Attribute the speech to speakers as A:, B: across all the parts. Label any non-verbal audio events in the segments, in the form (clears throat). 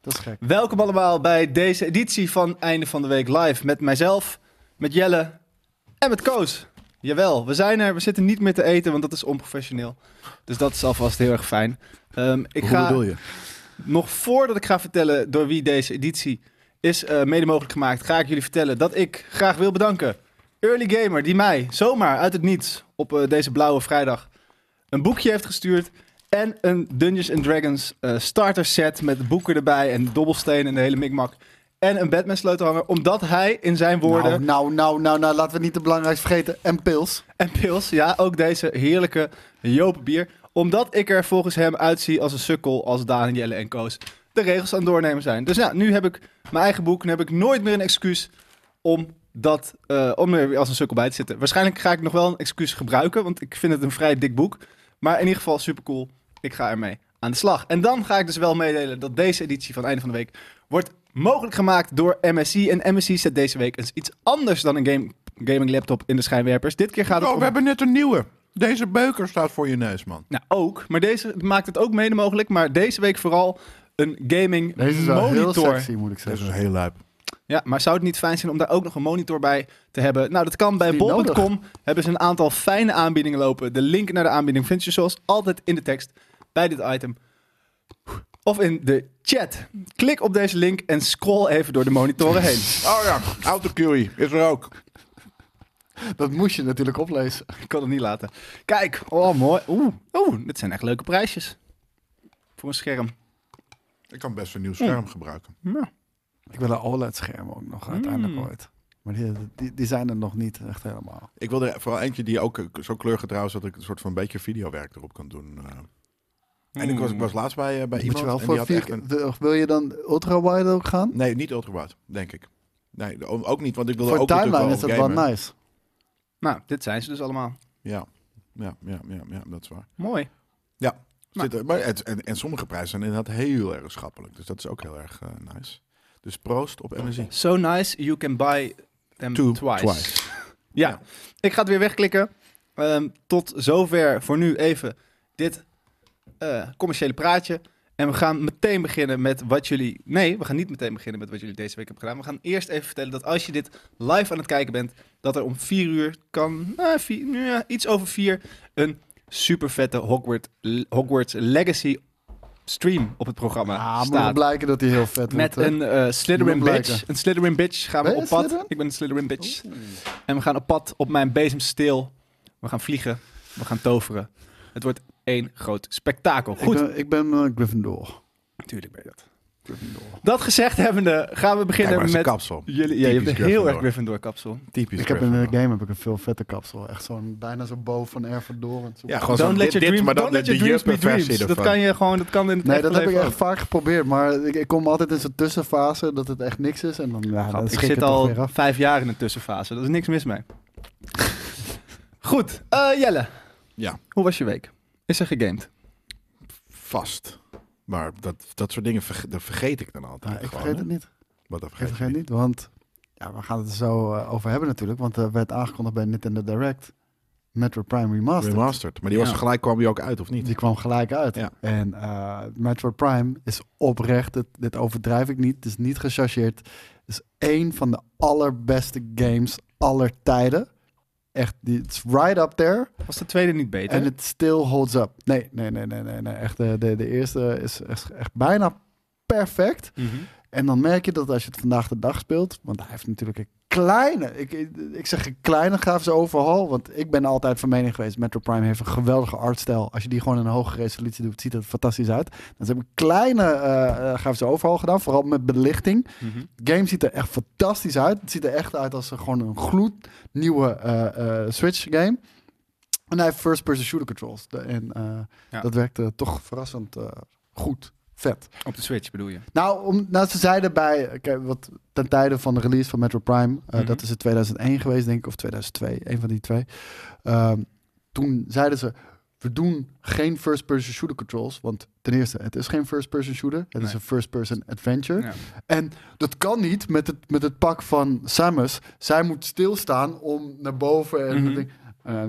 A: Dat is gek.
B: Welkom allemaal bij deze editie van Einde van de Week Live. Met mijzelf, met Jelle en met Koos. Jawel, we zijn er. We zitten niet meer te eten, want dat is onprofessioneel. Dus dat is alvast heel erg fijn. Ehm, ik
A: Hoe
B: ga
A: bedoel je?
B: nog voordat ik ga vertellen door wie deze editie is eh, mede mogelijk gemaakt, ga ik jullie vertellen dat ik graag wil bedanken. Early Gamer, die mij zomaar uit het niets op eh, deze blauwe vrijdag een boekje heeft gestuurd. En een Dungeons and Dragons eh, starter set met boeken erbij en dobbelstenen en de hele mikmak. En een Batman sleutelhanger, omdat hij in zijn woorden...
A: Nou, nou, nou, nou, nou, laten we niet de belangrijkste vergeten. En pils.
B: En pils, ja, ook deze heerlijke Jopenbier. Omdat ik er volgens hem uitzie als een sukkel als Daan, Jelle en Koos de regels aan het doornemen zijn. Dus ja, nu heb ik mijn eigen boek en heb ik nooit meer een excuus om, dat, eh, om er weer als een sukkel bij te zitten. Waarschijnlijk ga ik nog wel een excuus gebruiken, want ik vind het een vrij dik boek. Maar in ieder geval super cool. Ik ga ermee aan de slag. En dan ga ik dus wel meedelen dat deze editie van Einde van de Week wordt mogelijk gemaakt door MSI. En MSI zet deze week eens iets anders dan een game, gaming laptop in de schijnwerpers. Dit keer gaat het
C: Oh,
B: om...
C: we hebben net een nieuwe. Deze beuker staat voor je neus, man.
B: Nou, ook. Maar deze maakt het ook mede mogelijk. Maar deze week vooral een gaming
A: Deze is wel
B: monitor.
A: heel sexy, moet ik
C: Dat is
A: zeggen.
C: heel luip.
B: Ja, maar zou het niet fijn zijn om daar ook nog een monitor bij te hebben? Nou, dat kan bij
A: Is die
B: bol.com. Hebben ze een aantal fijne aanbiedingen lopen. De link naar de aanbieding vind je zoals altijd in de tekst bij dit item. Of in de chat. Klik op deze link en scroll even door de monitoren
A: (laughs)
B: heen.
C: Oh ja, autocurie is er ook.
A: Dus Dat moest je natuurlijk oplezen.
B: Ik kan het niet laten. Kijk, oh mooi. Oeh, oeh, dit zijn echt leuke prijsjes. Voor een scherm.
C: Ik kan best een nieuw scherm gebruiken.
A: Ik wil een OLED-scherm ook
C: Hmm.
A: nog
B: uiteindelijk
A: ooit. Maar die, die, die zijn er nog niet echt helemaal.
C: Ik wil er vooral eentje die ook eh, zo kleurgetrouw is dat ik een soort van beetje videowerk erop kan doen. eh. En ik was, ik was laatst bij, eh, bij
A: Moet
C: iemand
A: je wel
C: en die
A: voor
C: had
A: vier,
C: echt een... Nou,
A: de- Wil je dan ultra-wide ook gaan?
C: Nee, niet ultrawide, denk ik. Nee, de- ook niet, want ik wilde
A: Voor
C: ook
A: timeline is
C: natuurlijk
A: dat
C: wel
A: wel
C: gamen.
A: nice.
B: Nou, dit zijn ze dus allemaal.
C: Ja. Ja, ja, ja, ja, dat is waar.
B: Mooi.
C: Ja.
B: Nou.
C: Zit er- maar het, en, en sommige prijzen zijn inderdaad heel erg schappelijk. Dus dat is ook heel erg eh, nice. Dus proost op MSI.
B: So nice, you can buy them
C: Two
B: twice.
C: twice.
B: Ja.
C: Ja.
B: ik ga het weer wegklikken. Ehm, tot zover voor nu even dit eh, commerciële praatje. En we gaan meteen beginnen met wat jullie... Nee, we gaan niet meteen beginnen met wat jullie deze week hebben gedaan. We gaan eerst even vertellen dat als je dit live aan het kijken bent... dat er om vier uur kan... nou, vier- nou ja, iets over vier... een super vette Hogwarts, Hogwarts Legacy stream op het programma
A: Ah, moet wel
B: staat.
A: blijken dat die heel vet
B: Met
A: wordt, hè?
B: een eh Slytherin
A: Moet het
B: bitch.
A: blijken.
B: Een Slytherin bitch gaan we
A: Ben je
B: op pad.
A: Slytherin? Oh.
B: Ik ben een Slytherin bitch.
A: Oeh.
B: En we gaan op pad op mijn bezemsteel. We gaan vliegen. We gaan toveren. Het wordt één groot spektakel.
A: Ik
B: Goed.
A: ben, ik ben eh, Gryffindor.
B: Natuurlijk ben je dat.
A: Gryffindor.
B: Dat gezegd hebbende gaan we
C: Kijk
B: beginnen
C: maar, zijn
B: met...
C: kapsel.
B: Jullie, ja, je hebt
C: Typisch
B: een heel erg
C: Gryffindor.
B: Gryffindor kapsel.
C: Typisch
A: Ik heb in de
C: Gryffindor.
A: game heb ik een veel vette kapsel. Echt zo'n bijna zo boven van Erfendoor. en zo.
C: Ja, gewoon
B: Don't
C: zo'n
B: let
C: dit,
B: your, dream,
C: dit, maar
B: don't
C: dan
B: let your
C: de
B: dreams be
C: juppe versie
B: dreams.
C: ervan.
B: Dat kan je gewoon, dat kan in het
A: Nee,
B: echte
A: dat heb ik
B: leven
A: echt
B: ook.
A: vaak geprobeerd, maar ik, ik kom altijd in zo'n tussenfase dat het echt niks is. En dan, ja, dan
B: ik
A: schrik
B: zit
A: het toch
B: al
A: weer af.
B: vijf jaar in een tussenfase. Daar is niks mis
A: (laughs)
B: mee. Goed. eh, Jelle.
C: Ja.
B: Hoe was je week? Is er gegamed?
C: Vast. Maar dat, dat soort dingen verge- dat vergeet ik dan altijd.
A: Ja, ik
C: gewoon,
A: vergeet
C: hè?
A: het niet.
C: Wat dat
A: Ik
C: vergeet ik
A: vergeet
C: niet.
A: het niet, want ja, we gaan het er zo eh, over hebben natuurlijk. Want er werd aangekondigd bij Nintendo Direct Metro Prime Remastered.
C: Remastered. Maar die was
B: Ja.
C: gelijk, kwam die ook uit, of niet?
A: Die kwam gelijk uit.
C: Ja.
A: En eh, Metroid Prime is oprecht, dit, dit overdrijf ik niet, het is niet gechargeerd. Het is één van de allerbeste games aller tijden. Echt, die- it's right up there.
B: Was de tweede niet beter?
A: En het still holds up. Nee, nee, nee, nee, nee. nee. Echt, eh, de, de eerste is echt, echt bijna perfect.
B: Mhm.
A: En dan merk je dat als je het vandaag de dag speelt, want hij heeft natuurlijk een kleine, ik, ik zeg een kleine grafische overhaul, want ik ben altijd van mening geweest, Metro Prime heeft een geweldige artstijl. Als je die gewoon in een hoge resolutie doet, ziet het fantastisch uit. Dan heb ik een kleine eh eh, grafische overhaul gedaan, vooral met belichting.
B: Mhm.
A: De game ziet er echt fantastisch uit. Het ziet er echt uit als een- gewoon een gloednieuwe eh, eh, Switch game. En hij heeft first-person shooter controls. De- en eh,
B: Ja.
A: dat werkte toch verrassend eh, goed. Vet.
B: Op de Switch bedoel je?
A: Nou, om, nou ze zeiden bij, kijk, wat, ten tijde van de release van Metro Prime, eh,
B: Mhm.
A: dat is in 2001 geweest, denk ik, of 2002, een van die twee. Ehm, toen zeiden ze, we doen geen first-person shooter controls, want ten eerste, het is geen first-person shooter, het is
B: Nee.
A: een first-person adventure.
B: Ja.
A: En dat kan niet met het, met het pak van Samus. Zij moet stilstaan om naar boven en
B: Mhm.
A: dat ding- Eh,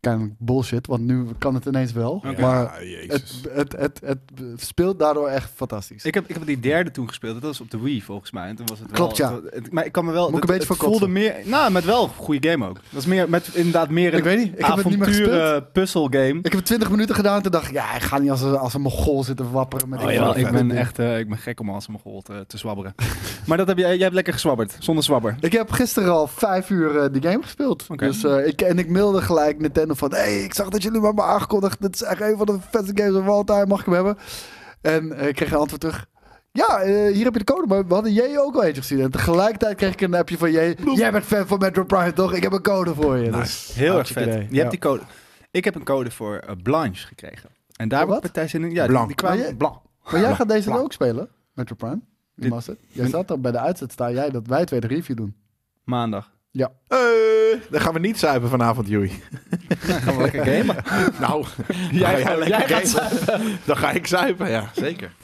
A: kennelijk bullshit, want nu kan het ineens wel.
B: Oké.
A: Maar
C: ja, jezus.
A: het, het, het, het speelt daardoor echt fantastisch.
B: Ik heb, ik heb die derde toen gespeeld. Dat was op de Wii volgens mij. En toen was het
A: Klopt,
B: wel,
A: ja.
B: het- het- maar ik kan me wel.
A: Moet ik
B: het-
A: een beetje
B: het
A: voor
B: voelde meer. Nou, met wel een goede game ook. Dat is meer met inderdaad meer
A: Ik
B: een
A: weet niet, ik heb het niet meer gespeeld.
B: avonturen puzzle game.
A: Ik heb het 20 minuten gedaan en toen dacht ik, ja, ik ga niet als een, als een mogol zitten wapperen met
B: Oh,
A: die
B: ja,
A: fucking
B: ik ben
A: ding.
B: echt eh, ik ben gek om als een mogol te, te zwabberen. (laughs) maar dat heb jij, jij hebt lekker gezwabberd, zonder zwabber.
A: Ik heb gisteren al vijf uur eh, die game gespeeld.
B: Oké.
A: Dus, eh, ik, en ik mailde gelijk Nintendo van... hey, ik zag dat jullie me hebben aangekondigd. Dit is echt een van de beste games of all time. Mag ik hem hebben? En eh, ik kreeg een antwoord terug. Ja, eh, hier heb je de code. Maar we hadden jij ook al eentje gezien. En tegelijkertijd kreeg ik een appje van jij. Jij bent fan van Metro Prime, toch? Ik heb een code voor je. Dus,
B: Heel erg
A: Hartstikke
B: vet.
A: idee,
B: Je
A: ja.
B: hebt die code. Ik heb een code voor eh, Blanche gekregen. En daar
A: Voor
B: heb ik
A: wat?
B: partij zin in. Ja, die-
C: Blanc.
B: die kwamen-
A: Maar je-
B: Blanc.
A: maar jij gaat deze
C: Ja.
A: ook spelen, Metro Prime. Die
B: Dit-
A: master. Jij zat dan bij de uitzet staan. Jij dat wij twee de review doen.
B: Maandag.
A: (laughs)
C: Eh, dan gaan we niet zuipen vanavond, Joey.
B: Dan gaan we lekker gamen.
C: (laughs) nou,
B: Jij
C: dan ga
B: gaat-
C: jij
B: jij gaat
C: lekker gamen. Dan ga ik zuipen, ja. Zeker.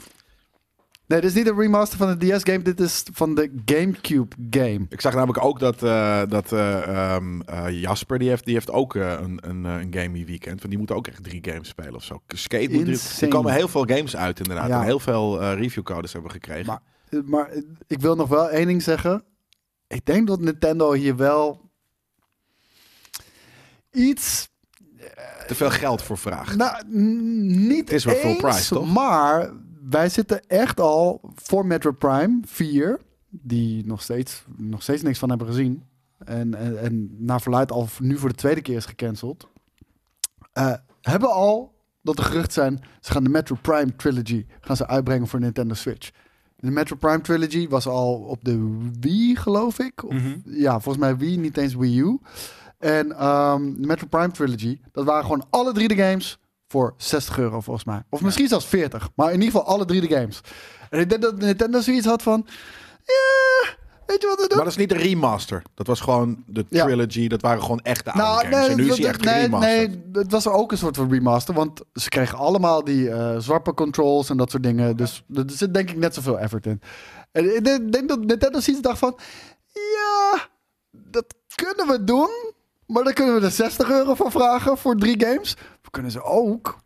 A: Nee, dit is niet een remaster van de DS-game. Dit is van de GameCube game.
C: Ik zag namelijk ook dat, eh, dat eh, ehm, eh, Jasper, die heeft, die heeft ook eh, een, een, eh, een game die weekend. Want die moeten ook echt drie games spelen of zo. Skate moet drie- Er
A: Insane.
C: komen heel veel games uit inderdaad.
A: Ja.
C: En heel veel eh, reviewcodes hebben we gekregen.
A: Maar- Eh, Maar eh, ik wil nog wel één ding zeggen. Ik denk dat Nintendo hier wel iets,
C: Te veel geld voor vraagt.
A: eh, nou, n- niet
C: Het is wel full
A: eens,
C: price, toch?
A: Maar wij zitten echt al voor Metro Prime 4, die nog steeds, nog steeds niks van hebben gezien. En, en, en naar verluid al nu voor de tweede keer is gecanceld. Eh, hebben al dat de gerucht zijn, ze gaan de Metro Prime Trilogy gaan ze uitbrengen voor Nintendo Switch. De Metro Prime Trilogy was al op de Wii, geloof ik. Of,
B: Mhm.
A: Ja, volgens mij Wii, niet eens Wii U. En ehm, de Metro Prime Trilogy, dat waren gewoon alle drie de games voor 60 euro volgens mij. Of misschien zelfs 40, maar in ieder geval alle drie de games. En ik denk dat Nintendo zoiets had van, ja, weet je wat we doen?
C: Maar dat is niet een remaster. Dat was gewoon de
A: Ja.
C: trilogy. Dat waren gewoon echte oude games. en Oh, dus nu
A: dat-
C: is hij
A: dat-
C: echt
A: Nou, nee,
C: remaster.
A: nee, het was ook een soort van remaster. Want ze kregen allemaal die eh zwappe controls en dat soort dingen. Dus er zit denk ik net zoveel effort in. En ik denk- denk dat Nintendo zoiets dacht van... Ja, dat kunnen we doen. Maar dan kunnen we er 60 euro voor vragen voor drie games. We kunnen ze ook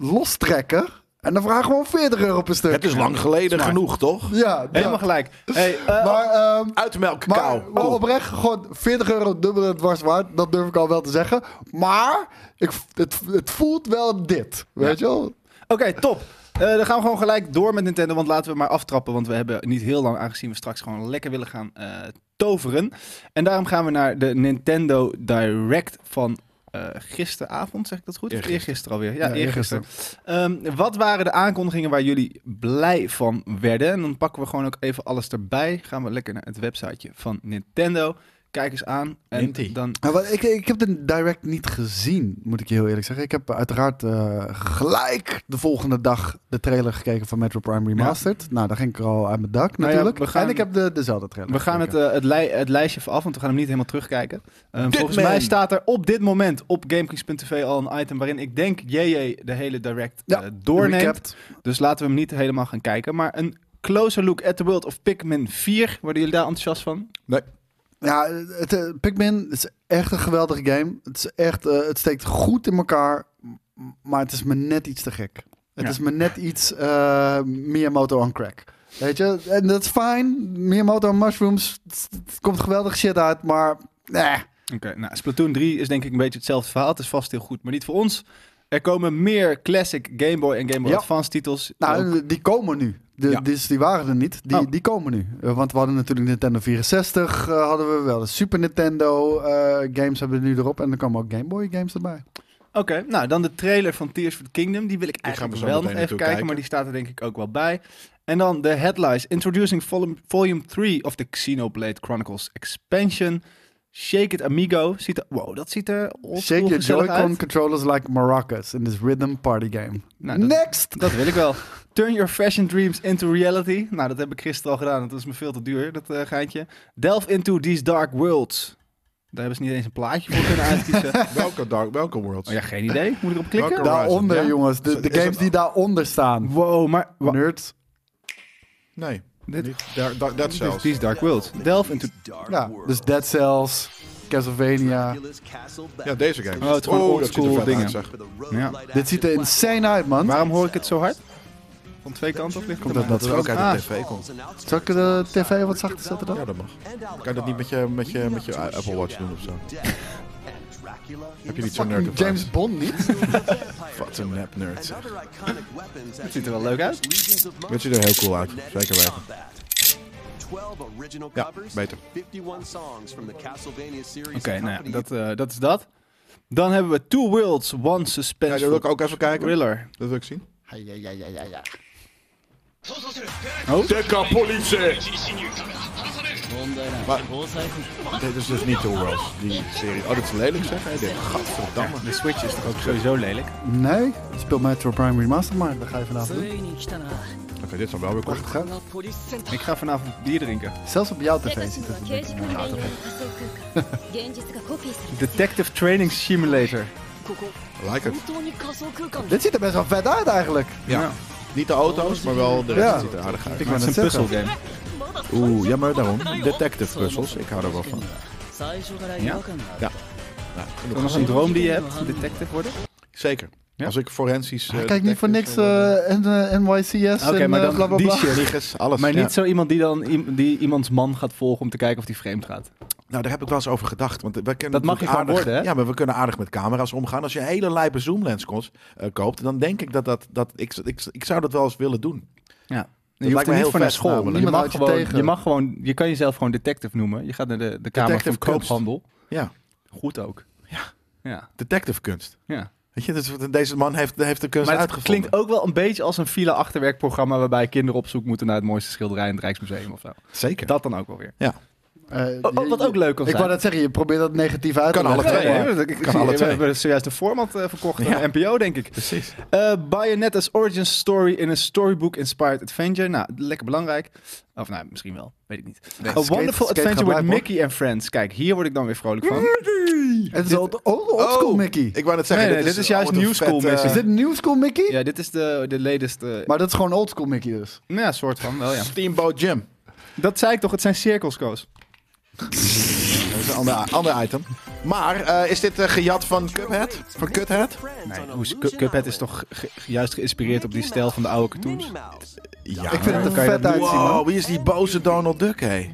A: lostrekken. En dan vragen we gewoon 40 euro per stuk.
C: Het is lang geleden genoeg, toch?
A: Ja,
B: (laughs) Helemaal
A: ja.
B: gelijk. Hey, eh,
A: Maar... ehm,
C: Uitmelk
A: maar,
C: kou.
A: maar
C: Kom.
A: oprecht, gewoon 40 euro dubbel het dwars waard. Dat durf ik al wel te zeggen. Maar ik, het, het voelt wel dit. Weet je wel?
B: Oké, top. Eh, dan gaan we gewoon gelijk door met Nintendo, want laten we maar aftrappen. Want we hebben niet heel lang, aangezien we straks gewoon lekker willen gaan eh, toveren. En daarom gaan we naar de Nintendo Direct van eh, gisteravond, zeg ik dat goed? Of
C: Eergisteren.
B: Eergisteren alweer. Ja,
A: Ja,
B: eergisteren. Ehm, wat waren de aankondigingen waar jullie blij van werden? En dan pakken we gewoon ook even alles erbij. Gaan we lekker naar het websiteje van Nintendo. Kijk eens aan. En
C: Ninty.
B: dan...
A: Nou, wat- ik, ik heb de direct niet gezien, moet ik je heel eerlijk zeggen. Ik heb uiteraard eh, gelijk de volgende dag de trailer gekeken van Metro Prime Remastered. Nou, daar ging ik er al uit mijn dak
B: Nou ja,
A: natuurlijk.
B: we gaan-
A: En ik heb de, dezelfde trailer
B: We gaan het,
A: gekeken.
B: eh, het, lij- het lijstje even af, want we gaan hem niet helemaal terugkijken. Ehm,
C: Dit
B: volgens
C: man.
B: mij staat er op dit moment op GameKings.tv al een item waarin ik denk JJ de hele direct eh,
A: Ja,
B: doorneemt.
A: Recapped.
B: Dus laten we hem niet helemaal gaan kijken. Maar een closer look at the world of Pikmin 4. Worden jullie daar enthousiast van?
A: Ja, het, eh, Pikmin is echt een geweldige game. Het, is echt, eh, het steekt goed in elkaar, m- maar het is me net iets te gek. Het
B: Ja.
A: is me net iets eh, Miyamoto on crack. Weet je, en dat is fijn. Miyamoto on mushrooms, het, het komt geweldig shit uit, maar... Eh.
B: Oké, nou Splatoon 3 is denk ik een beetje hetzelfde verhaal. Het is vast heel goed, maar niet voor ons. Er komen meer classic Game Boy en Game Boy
A: Ja.
B: Advance titels. Ook-
A: Nou, die komen nu. De,
B: Ja.
A: dus die waren er niet. Die,
B: Oh.
A: die komen nu. Eh, Want we hadden natuurlijk Nintendo 64, eh, hadden we wel. De Super Nintendo eh, games hebben we nu erop. En er komen ook Game Boy games erbij.
B: Oké, nou dan de trailer van Tears for the Kingdom. Die wil ik
C: gaan
B: eigenlijk
C: we zo
B: wel nog
C: meteen
B: even kijken,
C: naartoe kijken.
B: maar die staat er denk ik ook wel bij. En dan de headlines. Introducing volume, volume 3 of the Xenoblade Chronicles Expansion. Shake it amigo. Ziet er, wow, dat ziet er
A: Shake
B: oldschool
A: your
B: gezellig
A: Joy-Con
B: uit.
A: controllers like maracas in this rhythm party game.
B: Nou, dat-
A: Next!
B: Dat wil ik wel. Turn your fashion dreams into reality. Nou, dat heb ik gisteren al gedaan. Dat is me veel te duur, dat eh, geintje. Delve into these dark worlds. Daar hebben ze niet eens een plaatje voor
C: (laughs)
B: kunnen uitkiezen.
C: Welke, dark, welke worlds?
B: Oh ja, geen idee. Moet ik erop klikken?
C: Welke-
A: Daaronder,
C: Horizon, ja?
A: jongens.
C: Is
A: De,
C: het-
A: de
C: is
A: games
C: het-
A: die daaronder staan.
B: Wow, maar... wa-
A: Nerds.
C: Nee.
B: Dit-
C: Niet. Daar- daar- Dat
B: Dus
C: zelfs.
B: These Dark Worlds. Delve into...
A: Ja, dus Dead Cells. Castlevania.
C: Ja, deze game.
B: Oh, het is gewoon
C: dat
B: oldschool
C: ziet er vet
B: dingen.
C: uit, zeg.
B: Ja.
A: Dit ziet er insane uit, man.
B: Waarom hoor ik het zo hard? Van twee kanten of ligt
A: Komt
B: het
A: dat
C: Dat er ook
A: ook-
C: uit de tv komt.
A: Zal ik de tv wat zachter zetten dan?
C: Ah. Ja, dat mag. Kan je dat niet met je, met je, met je Apple Watch doen (laughs) of zo? Heb je niet zo'n nerd
A: Fucking James Bond niet?
C: (laughs) Wat een nep nerd zeg.
B: Het ziet er wel leuk uit.
C: Het ziet er heel cool uit, zeker weten. Ja, beter.
B: Oké, nou ja, dat, eh, dat is dat. Dan hebben we Two Worlds, One
C: Ja,
B: Suspense
C: die wil ik ook even kijken.
B: Thriller.
C: Dat wil ik zien.
A: (laughs) Ja, ja, ja, ja, ja, ja.
C: Tekka politie! Maar, dit is dus niet Two Worlds, die serie. Oh, dat is lelijk zeg. Hey, dit. Gadverdamme.
B: De Switch is toch ook sowieso lelijk?
A: Nee, speel Metro Prime Remastered maar. Dat ga je vanavond
D: つ
A: doen.
D: いに来たな
C: Oké, dit is dan wel weer kort.
D: このポリスセンター
B: Ik ga vanavond bier drinken.
A: Zelfs op jouw
E: 生
A: tv
E: 活に
A: ziet
E: は
A: het
E: 形
A: er
E: 式のレイヤーの仮想空間現実がコピーされて
B: Detective Training Simulator.
D: ここ
C: Like it.
D: 本当に仮想空間
A: Dit ziet er best wel vet uit eigenlijk.
B: Ja.
C: Niet de auto's, maar wel de rest
A: Ja.
C: ziet er aardig uit.
A: Ik
B: Maar
A: wou
B: het
A: net
B: is een
A: zeggen.
B: puzzelgame.
C: Oeh, ja maar daarom. Detective puzzels, ik hou er wel van.
D: 最初から違和感がある
C: Ja. Nou,
B: Is
C: genoeg
B: dat nog
C: gezien.
B: een droom die je hebt? Detective worden?
C: Zeker.
B: Ja?
C: Als ik forensisch... eh,
A: Hij kijkt niet voor niks
C: detective wil
A: eh, en eh, NYCS
B: Oké,
A: en
B: maar
A: eh,
B: dan
A: bla bla
B: die
A: bla.
B: shit.
C: worden. Liegers, alles.
B: Maar
C: ja.
B: niet zo iemand die dan i- die iemands man gaat volgen om te kijken of die vreemd gaat.
C: Nou, daar heb ik wel eens over gedacht. Want we
B: Dat
C: kennen
B: mag
C: natuurlijk
B: je gewoon
C: aardig,
B: worden, hè?
C: Ja, maar we kunnen aardig met camera's omgaan. Als je een hele lijpe zoomlens kost, eh, koopt, dan denk ik dat, dat, dat ik, ik, ik zou dat wel eens willen doen.
B: Ja.
C: me
B: Je hoeft er
C: heel
B: niet voor naar
C: vet
B: school.
C: namelijk.
B: Je
A: Niemand
B: mag,
A: houdt je
B: gewoon,
A: tegen.
B: je mag gewoon, je kan jezelf gewoon detective noemen. Je gaat naar de, de kamer van
C: Detective kunst.
B: koophandel.
C: Ja,
B: Goed ook.
C: Ja.
B: Ja.
C: detective kunst.
B: ja.
C: Weet je, dus deze man heeft, heeft de kunst
B: Maar het
C: uitgevonden.
B: klinkt ook wel een beetje als een file achterwerkprogramma waarbij kinderen op zoek moeten naar het mooiste schilderij in het Rijksmuseum of zo.
C: Zeker.
B: Dat dan ook wel weer.
C: Ja.
A: Eh,
B: Oh, oh, wat ook leuk kan
A: Ik wou
B: zijn.
A: net zeggen, je probeert dat negatief uit te
C: Kan alle
A: leggen.
C: twee,
A: maar-
C: hè?
B: ik, ik
C: Kan
B: zie- eh,
C: alle
B: We
C: twee.
B: hebben zojuist een format eh, verkocht
C: Ja.
B: aan de NPO, denk ik.
C: Precies.
B: Eh, Bayonetta's Origin Story in a Storybook-inspired adventure. Nou, lekker belangrijk. Of nou, misschien wel. Weet ik niet.
A: Nee,
B: a
A: skate-
B: Wonderful
A: skate gaat
B: Adventure with
A: blijven, hoor.
B: Mickey and Friends. Kijk, hier word ik dan weer vrolijk van.
A: Het is old, old, old school
C: Oh,
A: Mickey.
C: Ik wou net zeggen,
B: Nee, nee, dit is juist
C: oh, wat een
B: new school,
C: vet, eh,
A: Is dit new school Mickey?
B: Ja, dit is de, de latest... eh,
A: Maar dat is gewoon old school Mickey dus.
B: nou ja, soort van wel, ja.
C: Steamboat Jim.
B: Dat zei ik toch, het zijn cirkels, Koos.
C: Dat is een ander, ander item. Maar eh, is dit eh, gejat van Cuphead? Van Cuthead?
B: Nee, hoe is- Cu- Cuphead is toch ge- ge- juist geïnspireerd op die stijl van de oude cartoons.
C: Ja.
A: Ik vind het
B: dan
A: er
B: kan je
A: vet
B: dat
A: uitzien, man.
C: Wow, wie is die boze Donald Duck, hé?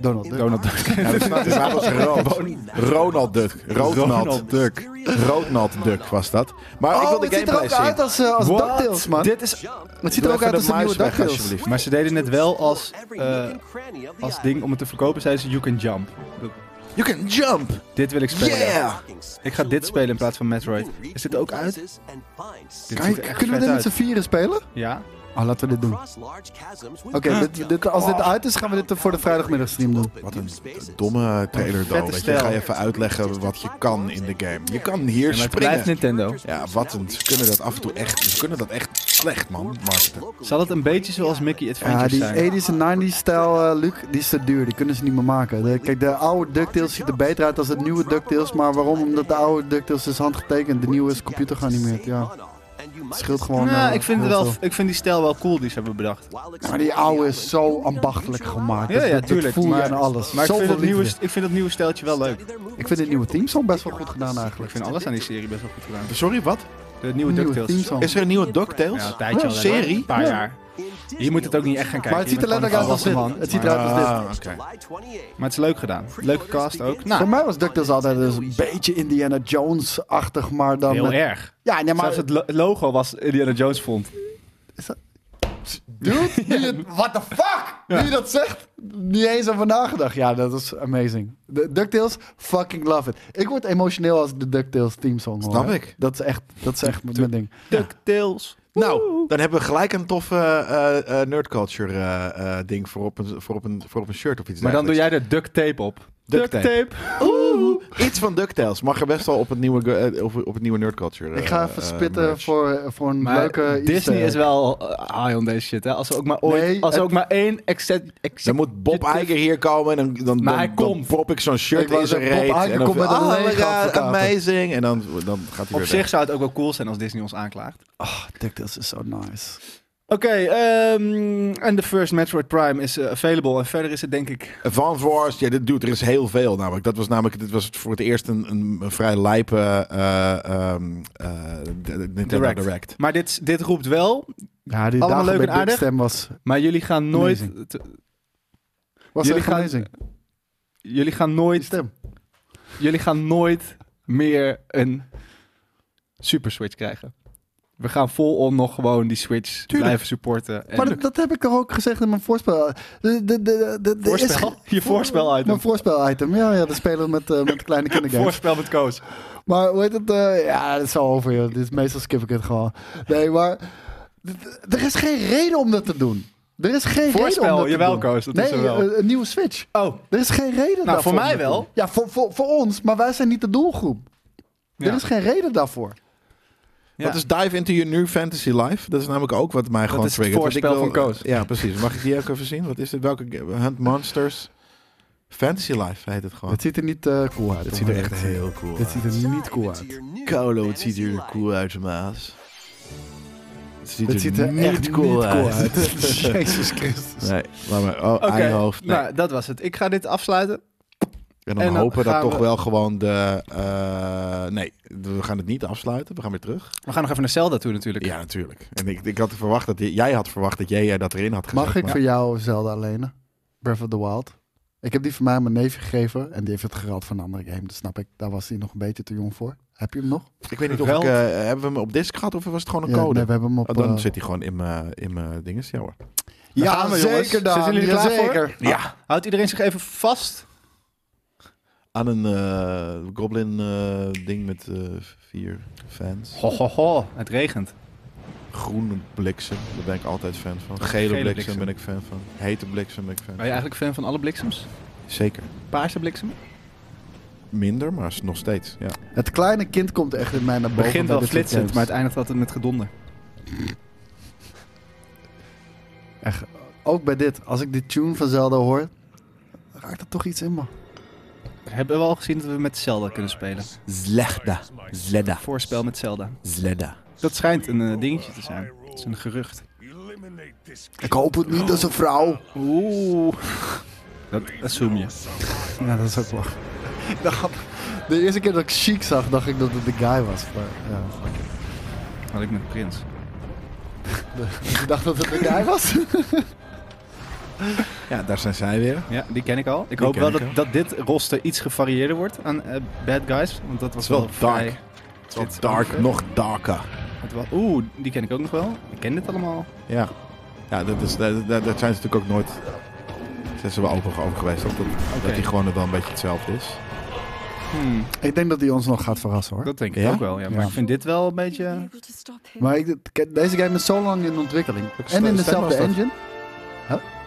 A: Donald Duck. Oh,
B: Donald Duck.
C: Ja, dat staat- dat was rood. Ronald Duck. Ronald
B: Ronald
C: Duck. Ronald Duck was dat. Maar ik wil
A: Oh,
C: de
A: het ziet er
C: gameplay
A: ook
C: zien.
A: uit als, eh, als
B: What?
A: DuckTales, man.
B: Dit is...
A: Het ziet er ook uit als
C: de
A: een nieuwe
C: muis weg,
A: DuckTales.
C: alsjeblieft.
B: Maar ze deden het wel als, eh, als ding om het te verkopen. Zeiden ze, you can jump. Dat-
C: You can jump!
B: Dit wil ik spelen.
C: Yeah!
B: Ik ga dit spelen in plaats van Metroid. Is dit ook uit?
A: Kan
B: ziet er
A: je-
B: echt
A: kunnen we dit
B: vet
A: met z'n
B: uit.
A: vieren spelen?
B: Ja.
A: Oh, laten we dit doen.
F: Oké,
A: Oké, dit, dit, als dit uit is, gaan we dit eh, voor de vrijdagmiddagstream doen.
C: Wat een domme trailer
B: Vette
C: dan. weet Je
B: stijl.
C: ga je even uitleggen wat je kan in de game. Je kan hier
B: Maar het blijft
C: springen.
B: Nintendo.
C: Ja, wat een... Ze kunnen dat af en toe echt... Ze kunnen dat echt slecht, man. Marketen.
B: Zal het een beetje zoals Mickey Adventures
A: Ja, die
B: zijn?
A: 80s en 90s stijl, eh, Luc, die is te duur. Die kunnen ze niet meer maken. De- kijk, de oude DuckTales ziet er beter uit dan de nieuwe DuckTales. Maar waarom? Omdat de oude DuckTales is handgetekend. De nieuwe is computer geanimeerd, ja. Het scheelt gewoon...
B: Nou,
A: eh,
B: ik vind, het
A: heel
B: wel,
A: veel.
B: ik vind die stijl wel cool die ze hebben bedacht.
A: Maar die oude is zo ambachtelijk gemaakt.
B: Ja,
A: Dat-
B: ja,
A: dat- dat
B: tuurlijk.
A: voel je
B: maar
A: aan alles.
B: maar ik, vind
A: Zoveel
B: het nieuwe,
A: liefde.
B: ik vind dat nieuwe stijltje wel leuk.
A: Ik vind het nieuwe teamsong best wel goed gedaan
B: Ik
A: eigenlijk.
B: vind alles aan die serie best wel goed gedaan.
C: Sorry, wat?
B: De nieuwe
A: Nieuwe
B: DuckTales.
A: teamsong.
C: Is er een nieuwe DuckTales?
B: Ja, een tijdje al.
C: serie?
B: Een paar
A: Ja.
B: jaar. Je moet het ook niet echt gaan kijken.
A: Maar het ziet er
B: Je bent
A: letterlijk uit als dit.
B: gewoon
A: Het
B: volwassen
A: ziet eruit als dit.
C: Ah, oké.
B: Maar het is leuk gedaan. Leuke cast ook.
A: Voor
B: Nou,
A: mij was DuckTales altijd dus een beetje Indiana Jones-achtig, maar dan...
B: heel
A: met-
B: erg.
A: Ja, nee, maar...
B: Zelfs het lo- logo was Indiana Jones vond.
A: Dude, nu je- what the fuck? Nu je dat zegt, niet eens over nagedacht. Ja, dat is amazing. De DuckTales, fucking love it. Ik word emotioneel als ik de DuckTales teamsong hoor.
C: Snap
A: hè.
C: ik.
A: Dat is echt, dat is echt mijn ding.
B: DuckTales.
C: Nou, dan hebben we gelijk een toffe eh, eh, nerdculture eh, eh, ding voor op, een, voor, op een, voor op een shirt of iets
B: Maar dan doe
C: dergelijks.
B: jij er duct tape op.
C: Duct
B: tape.
C: Iets van DuckTales mag er best wel op het nieuwe, ge- eh, op, op het nieuwe nerdculture eh,
A: Ik ga even spitten voor, voor een
B: Maar eh,
A: leuke...
B: Disney
A: easter
B: is wel eh, high on deze shit. Hè? Als er ook maar ooit,
A: Nee,
B: als er
A: het-
B: ook maar één except,
C: Dan moet Bob Iger hier komen en dan, dan,
B: Maar
C: dan,
B: hij
C: dan
B: komt.
C: prop ik zo'n
A: Ik
C: shirt
A: wou
C: in zijn
A: zeggen, Bob
C: reet.
A: Iger
C: en dan
A: komt met een
C: ah,
A: lege
C: ja,
A: advocaat.
C: amazing. En dan, dan gaat hij
B: Op
C: weer
B: zich zou het ook wel cool zijn als Disney ons aanklaagt.
A: Ah, DuckTales is zo nice.
B: ehm, en de first Metroid Prime is eh, available. En verder is het denk ik...
C: Advance Wars, ja, dit doet er is heel veel namelijk. Dat was namelijk, dit was het voor het eerst een, een, een vrij lijpe eh, ehm, eh, de- de Nintendo
B: nou, Direct.
C: Direct.
B: Maar dit, dit roept wel,
A: Ja, die
B: Allemaal
A: dagen
B: leuk
A: bij
B: en
A: Big
B: aardig.
A: Stem was,
B: maar jullie gaan nooit... t-
A: was
B: Jullie
A: echt
B: gaan-
A: amazing.
B: jullie gaan
A: Die
B: nooit...
A: stem.
B: Jullie gaan nooit meer een Super Switch krijgen. We gaan vol-on nog gewoon die Switch blijven supporten. En
A: Maar dat, dat heb ik toch ook gezegd in mijn voorspel. De, de, de, de, de- de- is- (laughs)
B: voorspel, je voorspel item.
A: Mijn voorspel-item. Ja, ja, we spelen met, eh,
B: (laughs)
A: met kleine kindergames.
B: Voorspel met Koos.
A: Maar hoe heet het? eh, ja, dat is al over, joh. Dit is meestal skip ik het gewoon. Nee, maar d- d- er is geen reden om dat te doen. Er is geen reden
B: Voorspel,
A: om dat
B: jawel,
A: te doen.
B: Koos, dat
A: nee,
B: is er wel.
A: eh, Een, nieuwe Switch.
B: Oh,
A: Er is geen reden daarvoor.
B: voor
A: om
B: mij
A: dat te
B: wel.
A: doen. Ja, voor, voor, voor ons. Maar wij zijn niet de doelgroep.
B: Ja.
A: Er is geen reden daarvoor.
B: Ja.
C: Dat is Dive Into Your New Fantasy Life. Dat is namelijk ook wat mij gewoon
B: is het
C: triggert. want ik
B: voorspel
C: wil-
B: van Koos.
C: Ja, precies. Mag ik die ook even zien? Wat is dit? Welke game? Hunt Monsters? Fantasy Life heet het gewoon.
A: Het ziet er niet eh, cool uit.
C: Dit
A: hoor.
C: Oh. ziet er echt heel cool
A: Dit ziet
C: uit.
A: er niet cool uit.
C: Kolo, het ziet er cool uit, maas. Het ziet
A: Dit
C: er,
A: ziet er
C: niet,
A: echt
C: cool
A: niet cool
C: uit.
A: (laughs) uit. Jezus Christus.
C: Nee, laat maar. Oh,
B: oké.
C: eienhoofd. Nee.
B: Nou, dat was het. Ik ga dit afsluiten.
C: En dan,
B: En dan
C: hopen dat
B: gaan
C: toch
B: we-
C: wel gewoon de... eh, nee, we gaan het niet afsluiten. We gaan weer terug.
B: We gaan nog even naar Zelda toe natuurlijk.
C: Ja, natuurlijk. En ik, ik had verwacht dat... Jij had verwacht dat jij eh, dat erin had gezet.
A: Mag ik
C: maar-
A: voor jou Zelda lenen? Breath of the Wild. Ik heb die van mij aan mijn neefje gegeven. En die heeft het gerald van een andere game. Dat snap ik. Daar was hij nog een beetje te jong voor. Heb je hem nog?
C: Ik weet niet of ik,
B: Geweld.
C: eh, hebben we hem op disk gehad of was het gewoon een
A: Ja,
C: code?
A: nee, we hebben hem op...
C: Oh, dan
A: eh,
C: zit hij gewoon in mijn in mijn dinges. Ja hoor.
B: Daar
A: ja,
B: gaan we, jongens.
A: zeker dan.
B: Zitten jullie er klaar voor? Ah,
A: Jazeker.
C: Ja.
B: Houdt iedereen zich even vast?
C: Aan een eh, goblin eh, ding met eh, vier fans.
B: Ho, ho, ho. Het regent.
C: Groene bliksem, daar ben ik altijd fan van.
B: Gele
C: Gele, bliksem,
B: bliksem. Oh
C: ben ik fan van. Hete bliksem ben ik fan
B: Ben je eigenlijk fan van alle bliksems?
C: van. Zeker.
B: Paarse bliksem?
C: Minder, maar s- nog steeds. Ja.
A: Het kleine kind komt echt in mij naar
B: Het
A: boven.
B: begint
A: bij
B: wel
A: dit soort
B: flitsend, maar
A: games.
B: het eindigt altijd met gedonder.
A: Echt, ook bij dit. Als ik die tune van Zelda hoor, raakt er toch iets in me.
B: Hebben we al gezien dat we met Zelda kunnen spelen?
C: Zlegda. Zledda.
B: Voorspel met Zelda.
C: Zledda.
B: Dat schijnt een eh, dingetje te zijn. Het is een gerucht.
A: Ik hoop het niet als een vrouw.
B: Oeh. Dat assume je.
A: Ja, dat is ook waar. Dat had- De eerste keer dat ik chic zag, dacht ik dat het de guy was. Maar, ja, fuck it.
B: Had ik met Prins.
A: Je dacht dat het de guy was? (laughs)
C: Ja, daar zijn zij weer.
B: Ja, die ken ik al. Ik hoop
C: ken
B: wel
C: ik
B: dat,
C: al.
B: dat dit roster iets gevarieerder wordt aan eh, bad guys. Want dat
C: Het
B: was
C: is wel
B: wel vrij-
C: dark. Het is eh, wel dark, nog darker.
B: Het wa- Oeh, die ken ik ook nog wel. Ik ken dit allemaal.
C: Ja, ja dat is, daar, daar- daar zijn ze natuurlijk ook nooit. Zijn ze wel open over geweest. Dat, dat, dat die gewoon dan een beetje hetzelfde is.
B: Hmm,
A: ik denk dat hij ons nog gaat verrassen hoor.
B: dat denk ik
C: Ja?
B: ook wel. Ja. Maar
A: Ja.
B: ik vind dit wel een beetje...
A: Maar ik, kijk, deze game is zo lang in ontwikkeling.
C: Welke
A: En
C: stem
A: in
C: was
A: dezelfde
C: dat?
A: engine.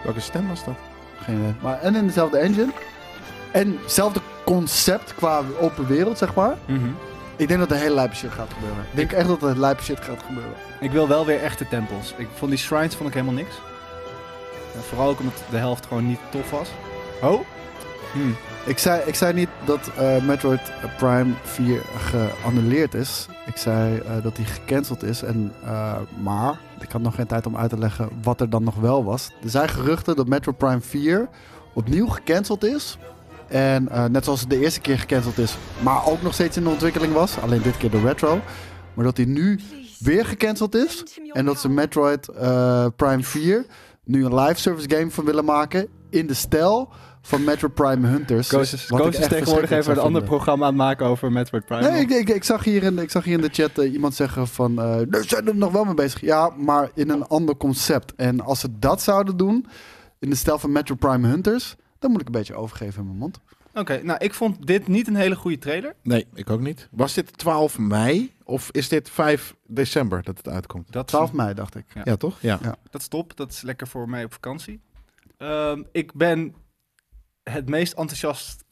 C: Welke stem was dat?
A: Geen idee. Maar en in dezelfde engine. En hetzelfde concept qua open wereld, zeg maar.
B: Mhm.
A: Ik denk dat er hele lijpe shit gaat gebeuren. Ik denk echt dat er lijpe shit gaat gebeuren.
B: Ik wil wel weer echte tempels. Ik vond die shrines vond ik helemaal niks. Ja, vooral ook omdat de helft gewoon niet tof was. Oh? Hmm.
A: Ik zei, ik zei niet dat eh, Metroid Prime 4 geannuleerd is. Ik zei eh, dat hij gecanceld is. En, eh, maar ik had nog geen tijd om uit te leggen wat er dan nog wel was. Er zijn geruchten dat Metroid Prime 4 opnieuw gecanceld is. En eh, net zoals het de eerste keer gecanceld is, maar ook nog steeds in de ontwikkeling was. Alleen dit keer de retro. Maar dat hij nu weer gecanceld is. En dat ze Metroid eh, Prime 4 nu een live service game van willen maken. In de stijl van Metroid Prime Hunters.
B: Koos is,
A: Wat ik
B: Koos is tegenwoordig
A: echt verschrikkelijk
B: even een
A: zou
B: ander
A: vinden.
B: programma aan het maken over Metroid Prime.
A: Nee, ik, ik, ik, zag hier in, ik zag hier in de chat eh, iemand zeggen van... eh "Nee, ze zijn er nog wel mee bezig. Ja, maar in een ander concept. En als ze dat zouden doen, in de stijl van Metroid Prime Hunters... dan moet ik een beetje overgeven in mijn mond.
B: Oké, nou ik vond dit niet een hele goede trailer.
C: Nee, ik ook niet. Was dit 12 mei of is dit 5 december dat het uitkomt?
B: Dat
A: 12 mei, dacht ik.
B: Ja.
C: Ja, toch? Ja.
B: Dat is top. Dat is lekker voor mij op vakantie. Ehm, ik ben het meest enthousiast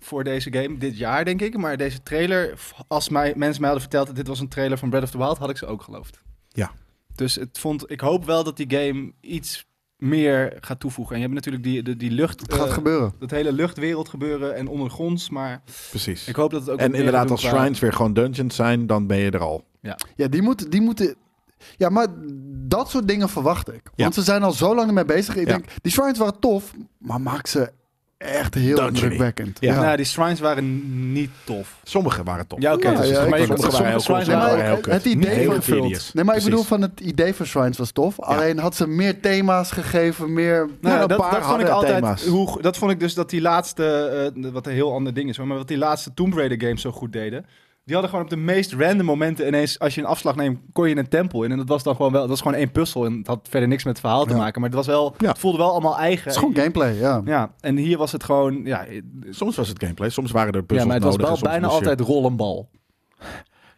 B: voor deze game dit jaar, denk ik. Maar deze trailer, f- als mij, mensen mij hadden verteld dat dit was een trailer van Breath of the Wild, had ik ze ook geloofd.
C: Ja.
B: Dus het vond, ik hoop wel dat die game iets meer gaat toevoegen. En je hebt natuurlijk die, die, die lucht...
A: Het gaat
B: eh,
A: gebeuren.
B: dat hele luchtwereld gebeuren en ondergronds, maar
C: Precies.
B: ik hoop dat het ook... wat
C: En
B: meer
C: inderdaad,
B: gaat
C: als
B: doen qua-
C: shrines weer gewoon dungeons zijn, dan ben je er al.
A: Ja, die moeten... Die moeten Ja, maar dat soort dingen verwacht ik.
C: Ja.
A: Want ze zijn al zo lang ermee bezig. Ik
C: Ja.
A: denk, die shrines waren tof, maar maak ze echt heel
C: Dungeony.
A: drukwekkend.
C: Ja.
B: Nou, die shrines waren niet tof.
C: Sommige waren top.
B: Ja, oké.
A: Ja,
B: dus
A: ja,
B: maar
A: ik
B: je
A: vond
B: kon-
A: het
B: sommige
C: wel
B: shrines
C: heel cool.
B: waren
A: maar
C: waren heel
A: het,
C: kut.
A: het
C: Niet
A: idee
C: heel
A: van
C: tedious.
A: Nee, maar ik
C: Precies.
A: bedoel van het idee van Shrines was tof. Alleen had ze meer thema's gegeven, meer.
B: Nou,
C: Nou,
B: dat,
C: een paar
B: dat vond ik
C: hadden
B: altijd.
C: thema's.
B: Hoe, go- dat vond ik dus dat die laatste. eh, wat een heel ander ding is hoor. Maar wat die laatste Tomb Raider games zo goed deden. Die hadden gewoon op de meest random momenten ineens. Als je een afslag neemt, kon je een tempel in. En dat was dan gewoon wel. Dat was gewoon één puzzel. En het had verder niks met het verhaal te
A: Ja.
B: maken. Maar het, was wel,
C: Ja.
B: het voelde wel allemaal eigen.
A: Het is gewoon gameplay, ja.
B: Ja, en hier was het gewoon. Ja, eh,
C: Soms was het gameplay, soms waren er puzzels
B: ja maar het was
C: nodig en
B: wel
C: soms
B: bijna
C: moest je-
B: altijd rollenbal.